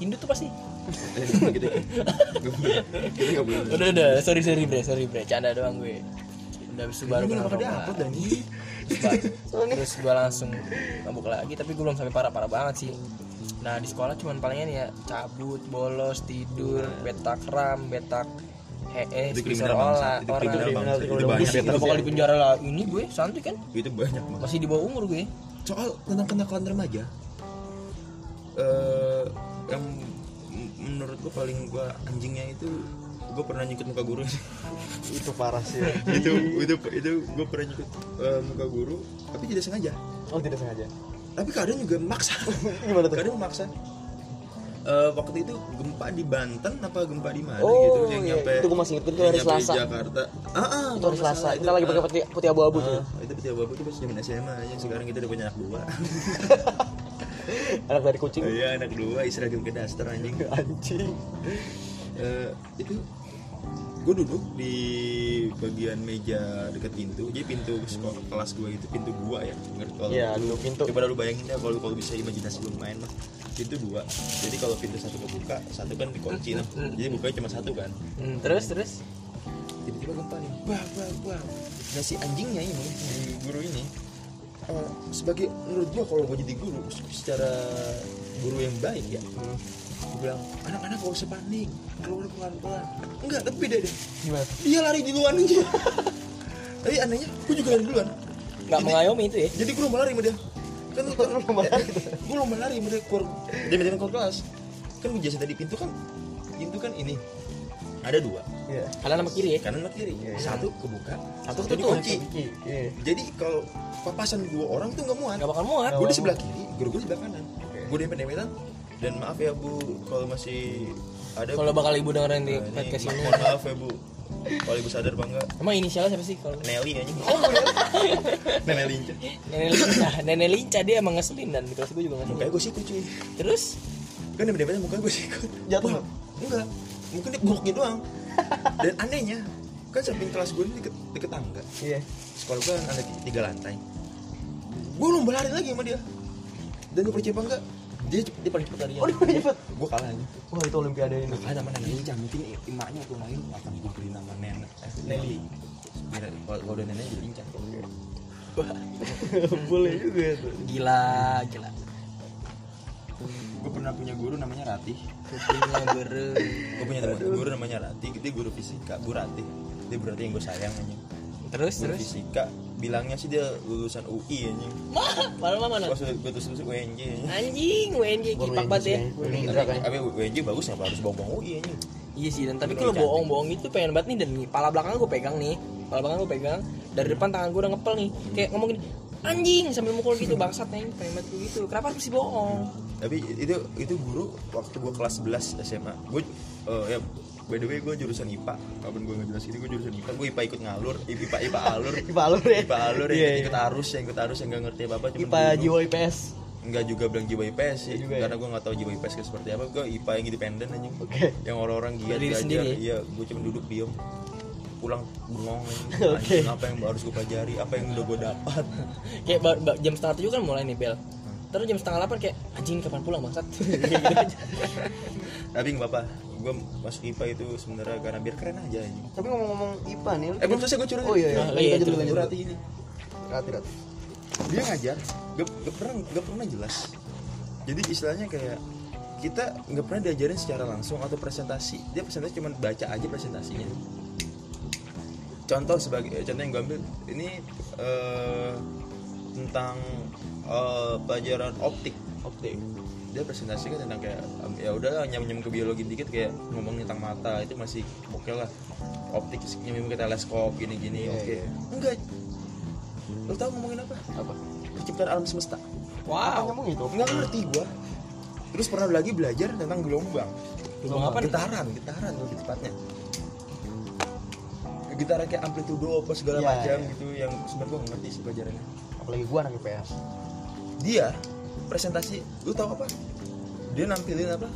S3: Hindu tuh pasti
S1: Eh, gitu ya. Nggak boleh. Kita nggak boleh.
S3: Udah, udah, sorry, sorry bre, sorry bre, canda doang gue Udah, abis itu baru
S1: Ini
S3: gua
S1: bakal
S3: ngerokok
S1: diupload
S3: lagi.
S1: lagi.
S3: Terus ba- terus gue langsung mabuk lagi tapi gue belum sampai parah parah banget sih nah di sekolah cuman palingan ya cabut bolos tidur betak ram betak heeh
S1: Itu
S3: pisor
S1: kriminal bangsa.
S3: olah
S1: Itu
S3: orang
S1: kriminal bangsa. Itu
S2: Orang.
S1: banyak.
S2: Itu
S3: Berapa kali di penjara lah ini gue santuy kan
S1: Itu banyak banget.
S3: masih di bawah umur gue
S1: Soal tentang kenakalan remaja, eh yang m- menurut gua paling gua anjingnya itu gua pernah nyikut muka guru
S2: Itu parah sih. ya.
S1: itu itu itu gua pernah nyikut eh, muka guru tapi tidak sengaja
S2: Oh, tidak sengaja.
S1: tapi kadang juga maksa
S2: Gimana tuh?
S1: kadang maksa Eh, waktu itu gempa di Banten apa gempa di mana
S2: Oh,
S1: gitu yang
S2: iya.
S1: nyampe
S2: Itu gua masih ingat, itu
S1: yang nyampe
S2: hari
S1: di
S2: Selasa.
S1: Jakarta ah, ah
S2: Itu
S1: kalau
S2: hari
S1: nggak
S2: Selasa.
S1: salah,
S2: Kita lagi pakai
S1: eh,
S2: putih, putih abu-abu tuh.
S1: ah, itu putih abu itu pas zaman SMA aja sekarang kita udah punya anak dua
S2: Anak dari kucing.
S1: iya anak dua seragam ke daster anjing
S2: Anjing.
S1: Eh, itu gue duduk di bagian meja deket pintu jadi pintu sekolah kelas gua itu pintu gua ya ngerti kalau
S2: Iya, lu pintu.
S1: coba lu bayangin deh kalau kalau bisa imajinasi lu main mah pintu gua jadi kalau pintu satu kebuka satu kan dikunci nah. jadi bukanya cuma satu kan
S3: Hmm, terus terus
S1: tiba-tiba gempa nih wah wah wah nah si anjingnya ini si guru ini eh, sebagai menurut gua kalau gua jadi guru secara guru yang baik ya gua bilang anak-anak gak usah panik keluar pelan-pelan enggak tapi beda deh
S3: gimana?
S1: dia lari duluan aja tapi anehnya gua juga lari duluan
S3: Nggak mengayomi itu ya?
S1: jadi gue lomba lari sama dia kan lu lomba lari gue lomba lari sama dia keluar dia minta keluar kelas kan gue jelasin tadi pintu kan pintu kan ini ada dua
S2: Iya.
S3: Kanan sama kiri ya?
S1: kanan sama kiri
S2: Iya, iya.
S1: satu kebuka
S3: Satu
S1: satu
S3: ketutup.
S1: dikunci
S2: Iya.
S1: jadi kalau papasan dua orang tuh nggak muat
S3: Nggak bakal muat.
S1: gue di sebelah kiri guru gue di sebelah kanan
S2: Oke.
S1: gue dempet-dempetan dan maaf ya bu kalau masih ada
S3: Kalau bakal ibu dengerin di
S1: Eh, ini,
S3: podcast Nah, ini.
S1: mohon maaf ya bu kalau ibu sadar bangga
S3: Emang inisialnya siapa sih kalau?
S1: Nelly aja oh, iya. Nelly Linca
S3: Nenek lincah, nenek lincah dia emang ngeselin dan di kelas gue juga
S1: mukanya
S3: ngeselin.
S1: gue siku cuy
S3: Terus
S1: kan dempet dempetan mukanya gue siku
S2: Jatuh.
S1: Wah, enggak mungkin dia goknya doang dan anehnya kan samping kelas gue ini deket, deket tangga
S2: Iya.
S1: sekolah gue kan ada tiga lantai gue lomba lari lagi sama dia dan gue percaya apa enggak dia cepet dia paling cepet larinya
S2: Oh, dia paling cepet?
S1: gue kalah aja
S2: Wah, itu olimpiade ini.
S1: kalah sama nenek lincah mungkin emaknya tuh lain akan gue beli nama nenek Nelly biar kalau kalau udah nenek jadi lincah
S2: Boleh juga tuh.
S3: gila, gila.
S1: gue pernah punya guru namanya Ratih
S3: Kupingnya beren.
S1: gue punya teman guru namanya Ratih dia guru fisika Bu Ratih dia Bu Ratih yang gue sayang aja
S3: Terus
S1: guru
S3: terus.
S1: fisika bilangnya sih dia lulusan UI aja
S3: Malah mana?
S1: pas gue terus terus UNJ aja
S3: Anjing, WNJ kipak banget ya.
S1: tapi UNJ bagus nggak harus bohong-bohong UI aja
S3: Iya sih, dan tapi
S1: Bener,
S3: kalau
S1: cantik.
S3: bohong-bohong itu pengen banget nih dan nih, pala belakang gue pegang nih, pala belakang gue pegang, dari depan tangan gue udah ngepel nih, kayak ngomong gini, anjing sambil mukul gitu bangsat neng, pengen banget gue gitu, kenapa harus bohong?
S1: tapi itu itu guru waktu gue kelas 11 SMA gue eh, ya by the way gue jurusan IPA kapan gue nggak jelas ini gue jurusan IPA gue IPA ikut ngalur IPA IPA alur
S2: IPA alur ya?
S1: IPA alur yang
S2: Iya, iya.
S1: ikut arus yang ikut arus yang nggak ngerti apa apa cuma
S2: IPA jiwa IPS.
S1: nggak juga bilang jiwa IPS sih
S2: Juga ya?
S1: karena gue nggak tahu jiwa IPS kayak seperti apa gue IPA yang independen aja
S2: Oke.
S1: yang orang-orang giat
S3: Berdiri
S1: belajar
S3: sendiri ya?
S1: iya gue cuma duduk diem pulang bengong
S2: Oke.
S1: anjing, apa yang harus gue pelajari apa yang udah gue dapat
S3: Kayak ba- ba- jam setengah tujuh kan mulai nih bel, terus jam setengah delapan kayak anjing kapan pulang bangsat? Gitu aja.
S1: tapi nggak apa gue masuk IPA itu sebenarnya karena biar keren aja anjing.
S2: Tapi ngomong-ngomong IPA nih, lu
S1: Eh belum selesai gue curhat.
S2: Oh iya, iya.
S3: Nah,
S2: Lanjut
S3: iya,
S2: aja dulu,
S3: curhat.
S2: lanjut
S1: Berarti
S2: dulu.
S1: ini
S2: Rati, rati.
S1: dia ngajar gak, gak pernah gak pernah jelas. Jadi istilahnya kayak kita nggak pernah diajarin secara langsung atau presentasi. Dia presentasi cuma baca aja presentasinya. Contoh sebagai eh, contoh yang gue ambil ini eh, tentang eh, pelajaran optik optik dia presentasikan tentang kayak um, ya udahlah nyambung ke biologi dikit kayak ngomongin tentang mata itu masih oke lah optik nyambung ke teleskop gini gini
S2: Iya,
S1: oke
S2: iya.
S1: enggak lo tau ngomongin apa
S2: Apa?
S1: penciptaan alam semesta
S2: Apa
S3: Wow,
S2: nyambung itu?
S1: nggak ngerti gua terus pernah lagi belajar tentang gelombang
S3: Gelombang apa nih?
S1: getaran getaran lebih tepatnya getaran kayak amplitudo apa segala
S2: Iya,
S1: macam
S2: iya.
S1: gitu yang sebenarnya gua nggak ngerti sih pelajarannya
S2: Apalagi gua anak IPS.
S1: dia presentasi lu tau apa dia nampilin apa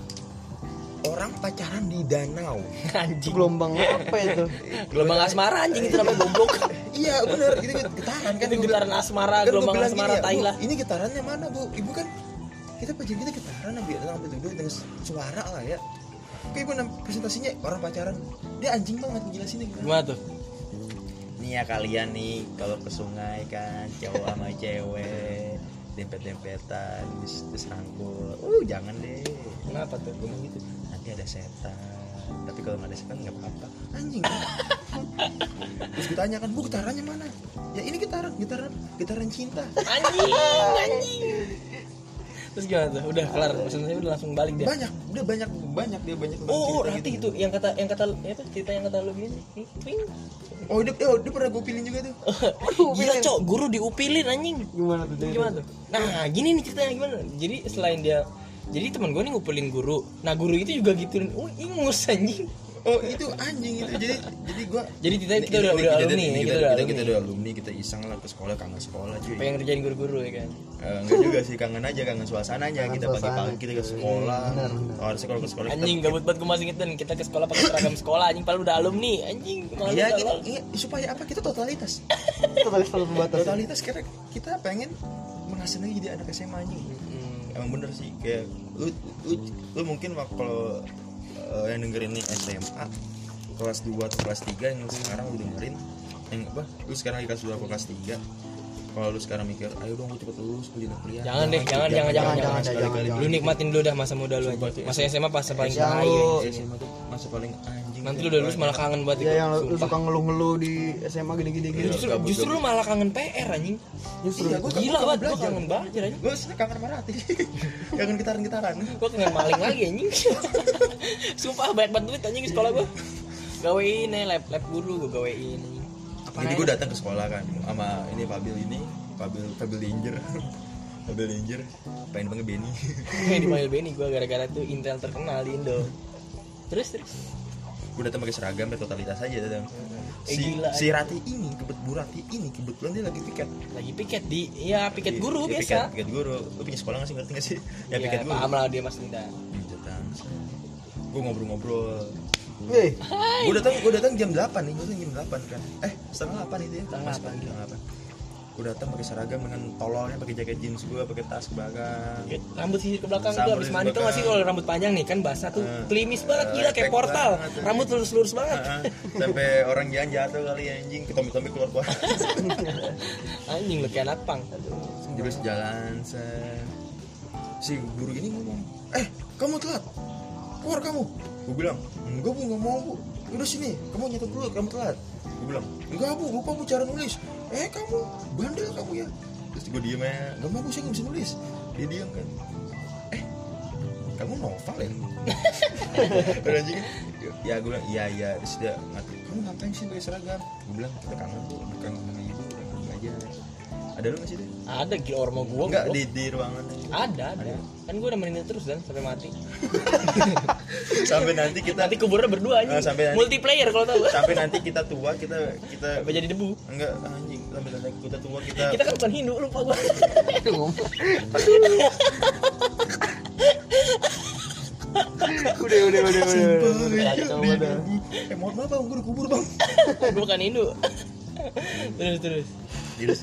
S1: orang pacaran di danau
S2: Itu
S3: anjing.
S2: gelombang apa itu?
S3: Gelombang asmara anjing itu namanya goblok.
S1: iya bener gitu getaran kan
S3: Itu getaran asmara,
S1: Kan gua
S3: gelombang
S1: bilang gini
S3: asmara,
S1: ya, Bu,
S3: tai lah.
S1: ini getarannya mana bu ibu kan kita pacar kita getaran nabi tentang amplitudo dengan suara lah ya kayak ibu nam- presentasinya orang pacaran dia anjing banget ngejelasinnya gimana
S3: Gimana tuh?
S1: nih ya kalian nih kalau ke sungai kan cowok sama cewek dempet-dempetan terus, terus rangkul uh jangan deh
S3: Kenapa tuh?
S1: gue gitu nanti ada setan tapi kalau nggak ada setan nggak apa-apa anjing terus gue tanya kan bu getarannya mana ya ini getaran getaran getaran cinta
S3: Anjing, anjing. Terus gimana tuh? Udah kelar, maksudnya udah langsung balik dia.
S1: banyak udah banyak banyak dia banyak banget
S3: Ya. Oh, oh
S1: cerita
S3: nanti
S1: gitu.
S3: itu yang kata yang kata ya tuh cerita yang kata lu gini. Ih, Ping.
S1: oh dia, oh, dia pernah gue pilih juga tuh
S3: Gila, Cok, guru diupilin anjing.
S2: Gimana tuh? Dede?
S3: Gimana tuh? Nah, gini nih ceritanya gimana? Jadi selain dia jadi teman gue nih ngupilin guru. Nah, guru itu juga gituin. Oh, ingus anjing.
S1: oh itu anjing itu jadi jadi gua
S3: Jadi kita-
S1: ini-
S3: kita udah-
S1: ini
S3: udah
S1: kita- ini
S3: alumni,
S1: kita kita
S3: kita udah
S1: kita
S3: alumni.
S1: udah alumni kita iseng lah ke sekolah kangen sekolah cuy
S3: pengen ngerjain guru-guru ya kan
S1: Eh, enggak juga sih kangen aja kangen suasananya
S2: Kangen
S1: kita pagi-pagi
S2: suasana,
S1: kita ke
S2: cuy.
S1: sekolah
S2: Benar, benar.
S1: oh, harusnya kalau ke sekolah
S3: anjing
S1: kita,
S3: gabut banget gue masih inget dan kita ke sekolah pakai seragam sekolah anjing padahal udah alumni anjing malah
S1: Iya,
S3: udah
S1: kita,
S3: alumni.
S1: iya, supaya apa kita totalitas
S2: Totalis kalau pembatas.
S1: totalitas karena kita pengen menghasilkan jadi anak SMA anjing
S3: Hmm.
S1: emang bener sih kayak lu lu, lu mungkin wak- kalau eh, yang dengerin nih SMA kelas 2 atau kelas 3 yang lu sekarang udah dengerin yang apa lu sekarang di kelas 2 atau kelas 3 kalau lu sekarang mikir ayo dong gue cepet lulus gue jadi kuliah
S3: jangan deh jangan jangan jangan
S2: jangan,
S3: jangan,
S1: sekali-kali.
S3: lu nikmatin dulu dah masa muda lu
S1: Sumpah
S3: anjing
S1: tuh,
S3: masa SMA pas paling
S2: Yang
S3: bahaya
S2: lu-
S1: Iya, SMA tuh masa paling anjing
S3: nanti lu udah lulus malah kangen banget
S1: Iya,
S2: Ya
S3: gua,
S2: yang lu- lu
S3: sumpah.
S2: suka ngeluh-ngeluh di SMA gini-gini gini.
S3: justru justru lu malah kangen PR anjing
S2: Justru
S1: Iya, gua kangen-
S3: gila
S1: kangen
S3: banget gua
S1: belajar.
S3: kangen belajar anjing
S1: gue sebenernya kangen merhati kangen gitaran gitaran
S3: gue kena maling lagi anjing sumpah banyak banget duit anjing di sekolah gue gawein ya lab lab guru gue gawein anjing. apa
S1: jadi
S3: namanya?
S1: gue datang ke sekolah kan sama ini Fabil ini Fabil Fabil Danger Fabil Danger pengen banget Benny
S3: Kayak dipanggil Benny gue gara-gara tuh intel terkenal di Indo terus terus
S1: gue datang pakai seragam ya totalitas aja datang
S3: Eh,
S1: si,
S3: gila.
S1: si Rati ini kebet Bu Rati ini kebetulan dia lagi piket
S3: lagi piket di ya
S1: Di-
S3: piket guru
S1: di
S3: biasa Iya,
S1: piket, piket guru lu punya sekolah nggak sih ngerti nggak sih ya, piket guru
S3: paham lah dia mas Linda
S1: Hmm, datang gue ngobrol-ngobrol
S2: Wih,
S1: gue datang gue datang jam 8 nih gue datang jam 8 kan eh setengah 8 itu ya
S3: Setengah
S1: Masih
S3: 8.
S1: pagi, setengah 8 gue datang pakai seragam dengan tololnya pakai jaket jeans gue pakai tas ke belakang
S3: rambut sisir ke belakang
S1: Rambut
S3: tuh habis
S1: sisir
S3: mandi
S1: ke
S3: tuh masih
S1: belakang.
S3: kalau rambut panjang nih kan basah tuh
S1: Eh,
S3: klimis banget
S1: eh,
S3: gila kayak
S1: lepek
S3: portal
S1: banget, ya.
S3: rambut lurus-lurus banget
S1: Ah, ah. sampai orang jalan jatuh kali anjing ketombe-tombe keluar keluar
S3: anjing lu kayak anak pang
S1: terus jalan set. si guru ini ngomong eh kamu telat keluar kamu gue bilang enggak bu nggak mau bu udah sini kamu nyetok dulu kamu telat gue bilang enggak bu lupa bu cara nulis eh kamu bandel kamu ya terus gue diem aja nggak mau bu saya nggak bisa nulis dia diem kan eh kamu novel ya Udah anjing kan? ya gue bilang iya iya terus dia ngatain kamu ngapain sih pakai seragam gue bilang kita kangen tuh bukan sama ibu kangen aja ada lu nggak sih deh
S3: ada gila ormo gua
S1: Enggak
S3: goblok.
S1: di di ruangan
S3: ada ada kan gue nemenin dia terus dan sampai mati
S1: sampai nanti kita
S3: nanti kuburnya berdua aja
S1: Eh, sampai nanti-
S3: multiplayer kalau tahu
S1: sampai nanti kita tua kita kita
S3: sampai jadi debu
S1: enggak anjing sampai nanti kita tua kita
S3: kita kan bukan Hindu lupa gue
S2: udah udah udah udah.
S1: Sumpah,
S2: Kacau
S1: iya, di-
S2: banget.
S1: di- eh mohon maaf bang gue dikubur bang
S3: gue bukan Hindu terus terus
S1: Terus,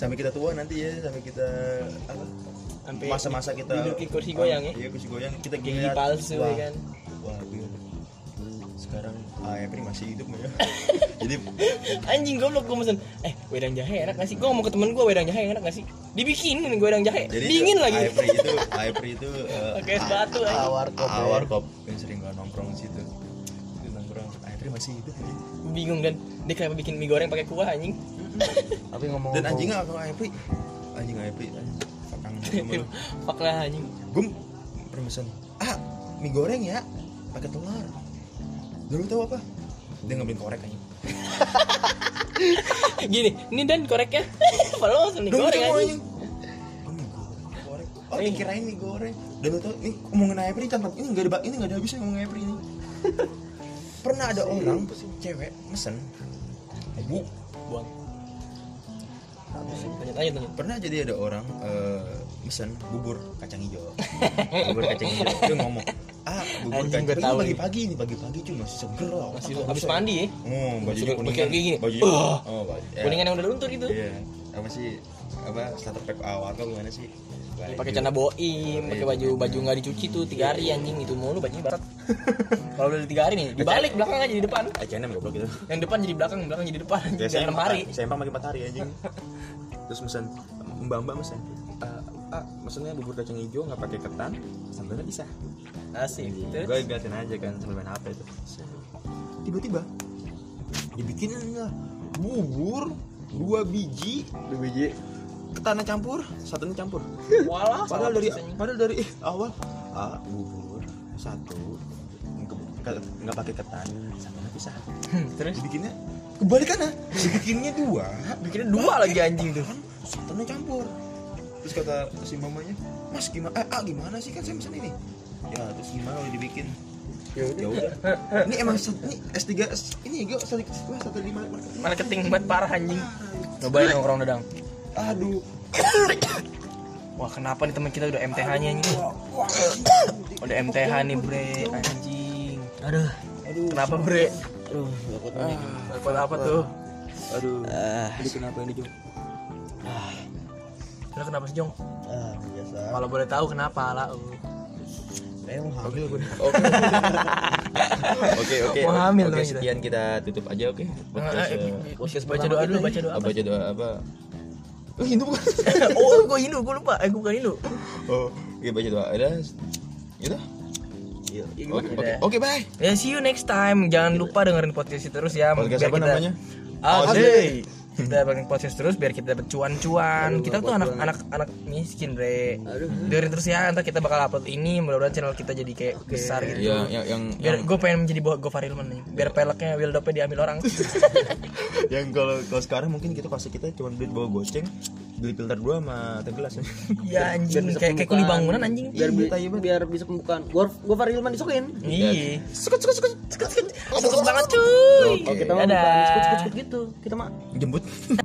S1: sampai kita tua nanti ya sampai kita apa
S3: Sampai
S1: masa-masa kita
S3: duduk di kursi goyang ya?
S1: iya kursi goyang kita
S3: Gigi
S1: ngeliat,
S3: palsu,
S1: wah,
S3: ya kan?
S1: wah gue sekarang ah Epri masih hidup ya jadi
S3: anjing goblok gue mesen eh wedang jahe enak gak sih gue ngomong ke temen gue wedang jahe enak gak sih dibikinin gue wedang jahe
S1: jadi
S3: dingin
S1: itu,
S3: lagi
S1: Epri itu Epri itu eh,
S3: pakai es batu anjing
S2: Awar kok.
S1: Ah, warkop yang sering gua nongkrong di situ. Itu nongkrong. Akhirnya masih hidup anjing.
S3: bingung dan dia kenapa bikin mie goreng pakai kuah anjing
S2: Tapi ngomong
S1: Dan anjingnya kalau Epri, anjing Epri, pakang gitu sama lu.
S3: fuck lah anjing
S1: Gum, permesan. Ah, mie goreng ya, pakai telur. Dulu tahu apa? Dia ngambilin korek anjing.
S3: Ah, gini ini dan koreknya kalau langsung mie
S1: Dulu
S3: goreng
S1: tahu
S3: anjing
S1: anjing. Oh, mie goreng. Oh, dikirain mie goreng. Dan lu tahu nih ngomongin Epri tanpa ini enggak ada ba- ini enggak ada habisnya ngomongin Epri ini. Pernah ada orang cewek mesen bu
S3: buang lanjut lanjut lanjut
S1: pernah jadi ada orang eh, mesen bubur kacang hijau bubur kacang hijau dia ngomong ah bubur
S3: Anjing,
S1: kacang
S3: gua
S1: hijau
S3: tahu nih.
S1: pagi-pagi ini pagi-pagi cuma masih seger loh
S3: masih
S1: Apa
S3: habis
S1: bisa?
S3: mandi ya
S1: oh bajunya
S3: Suruh
S1: kuningan
S3: pakai kayak gini.
S1: bajunya
S3: Wah.
S1: oh baju ya.
S3: kuningan yang udah luntur gitu
S1: iya apa sih apa starter pack awal kok gimana sih
S3: Dia pakai celana
S1: Iya.
S3: boim, pakai baju baju nggak dicuci tuh tiga hari anjing itu mulu bajunya barat. Kalau udah tiga hari nih, dibalik belakang aja di depan.
S1: H&M goblok gitu
S3: Yang depan jadi belakang, yang belakang jadi depan.
S1: Ya,
S3: Jangan enam hari.
S1: saya emang pakai empat hari anjing terus mesen mbak mbak mesen "Ah, ah, mesennya bubur kacang hijau nggak pakai ketan sambalnya bisa
S3: Asik.
S1: gue ingatin aja kan sambil main HP itu tiba-tiba dibikinin lah bubur dua biji
S2: Udah biji.
S1: ketannya campur satunya campur
S3: Walah,
S1: padahal dari padahal dari awal ah bubur satu nggak- nggak- nggak pakai ketan satunya pisah
S3: terus
S1: dibikinnya kebalikannya dibikinnya dua
S3: bikinnya dua lagi anjing tuh.
S1: kan satunya campur terus kata si mamanya mas gimana eh, ah, gimana sih kan saya pesan ini ya terus gimana udah dibikin
S2: ya udah
S1: ya udah ini emang sat- ini S3 S- ini gue satu gue satu lima marketing.
S3: marketing buat parah anjing cobain nongkrong dadang
S1: aduh
S3: wah kenapa nih teman kita udah MTH nya nih udah MTH nih bre anjing
S2: aduh
S3: kenapa bre
S2: aduh takut
S3: Ah, buat apa tuh
S1: aduh
S2: ah
S1: jadi kenapa ini Jung
S3: lo kenapa sih jong
S2: ah biasa
S3: kalau boleh tahu kenapa lah Oh.
S2: memang hamil gue
S1: Oke. Oke oke.
S3: Mau hamil
S1: Oke,
S3: dong kita.
S1: sekian kita tutup aja oke. Podcast,
S3: Eh, eh,
S1: eh,
S3: eh,
S1: podcast
S3: baca
S1: pertama
S3: doa
S1: kita
S3: dulu,
S1: ini.
S3: baca doa
S1: Ah,
S3: apa
S1: Baca doa apa? Oh, Hindu bukan.
S3: oh gue Hindu gue lupa eh gue bukan Hindu
S1: Oh, oke baca doa. Ada. Gitu. Oke, oke.
S3: Udah.
S1: Oke, bye.
S3: ya see you next time jangan lupa dengerin podcast itu terus ya
S1: Podcast
S3: biar
S1: apa
S3: kita-
S1: namanya? Oh,
S3: Asik. kita pakai podcast terus biar kita dapat cuan-cuan. Kita tuh anak-anak anak miskin, Bre.
S2: Aduh.
S3: Dengerin terus ya, ntar kita bakal upload ini, mudah-mudahan channel kita jadi kayak besar gitu.
S1: Ya, yang yang
S3: Biar gue pengen menjadi Bo- Gofar Hilman nih. Biar peleknya Wildopnya diambil orang.
S1: yang kalau kalau sekarang mungkin kita kasih kita cuma duit bawa goceng, beli filter dua sama teh gelas.
S3: ya anjing,
S2: bisa
S3: kayak kayak kuli bangunan anjing.
S2: biar bi- biar bisa pembukaan gue gue Faril Hilman disukain
S3: Iya.
S1: Sekut sekut sekut sekut.
S3: Seru banget cuy.
S1: Oke.
S2: kita mah
S3: Dadah.
S2: bukan skut skut skut gitu kita mah
S1: Jemput.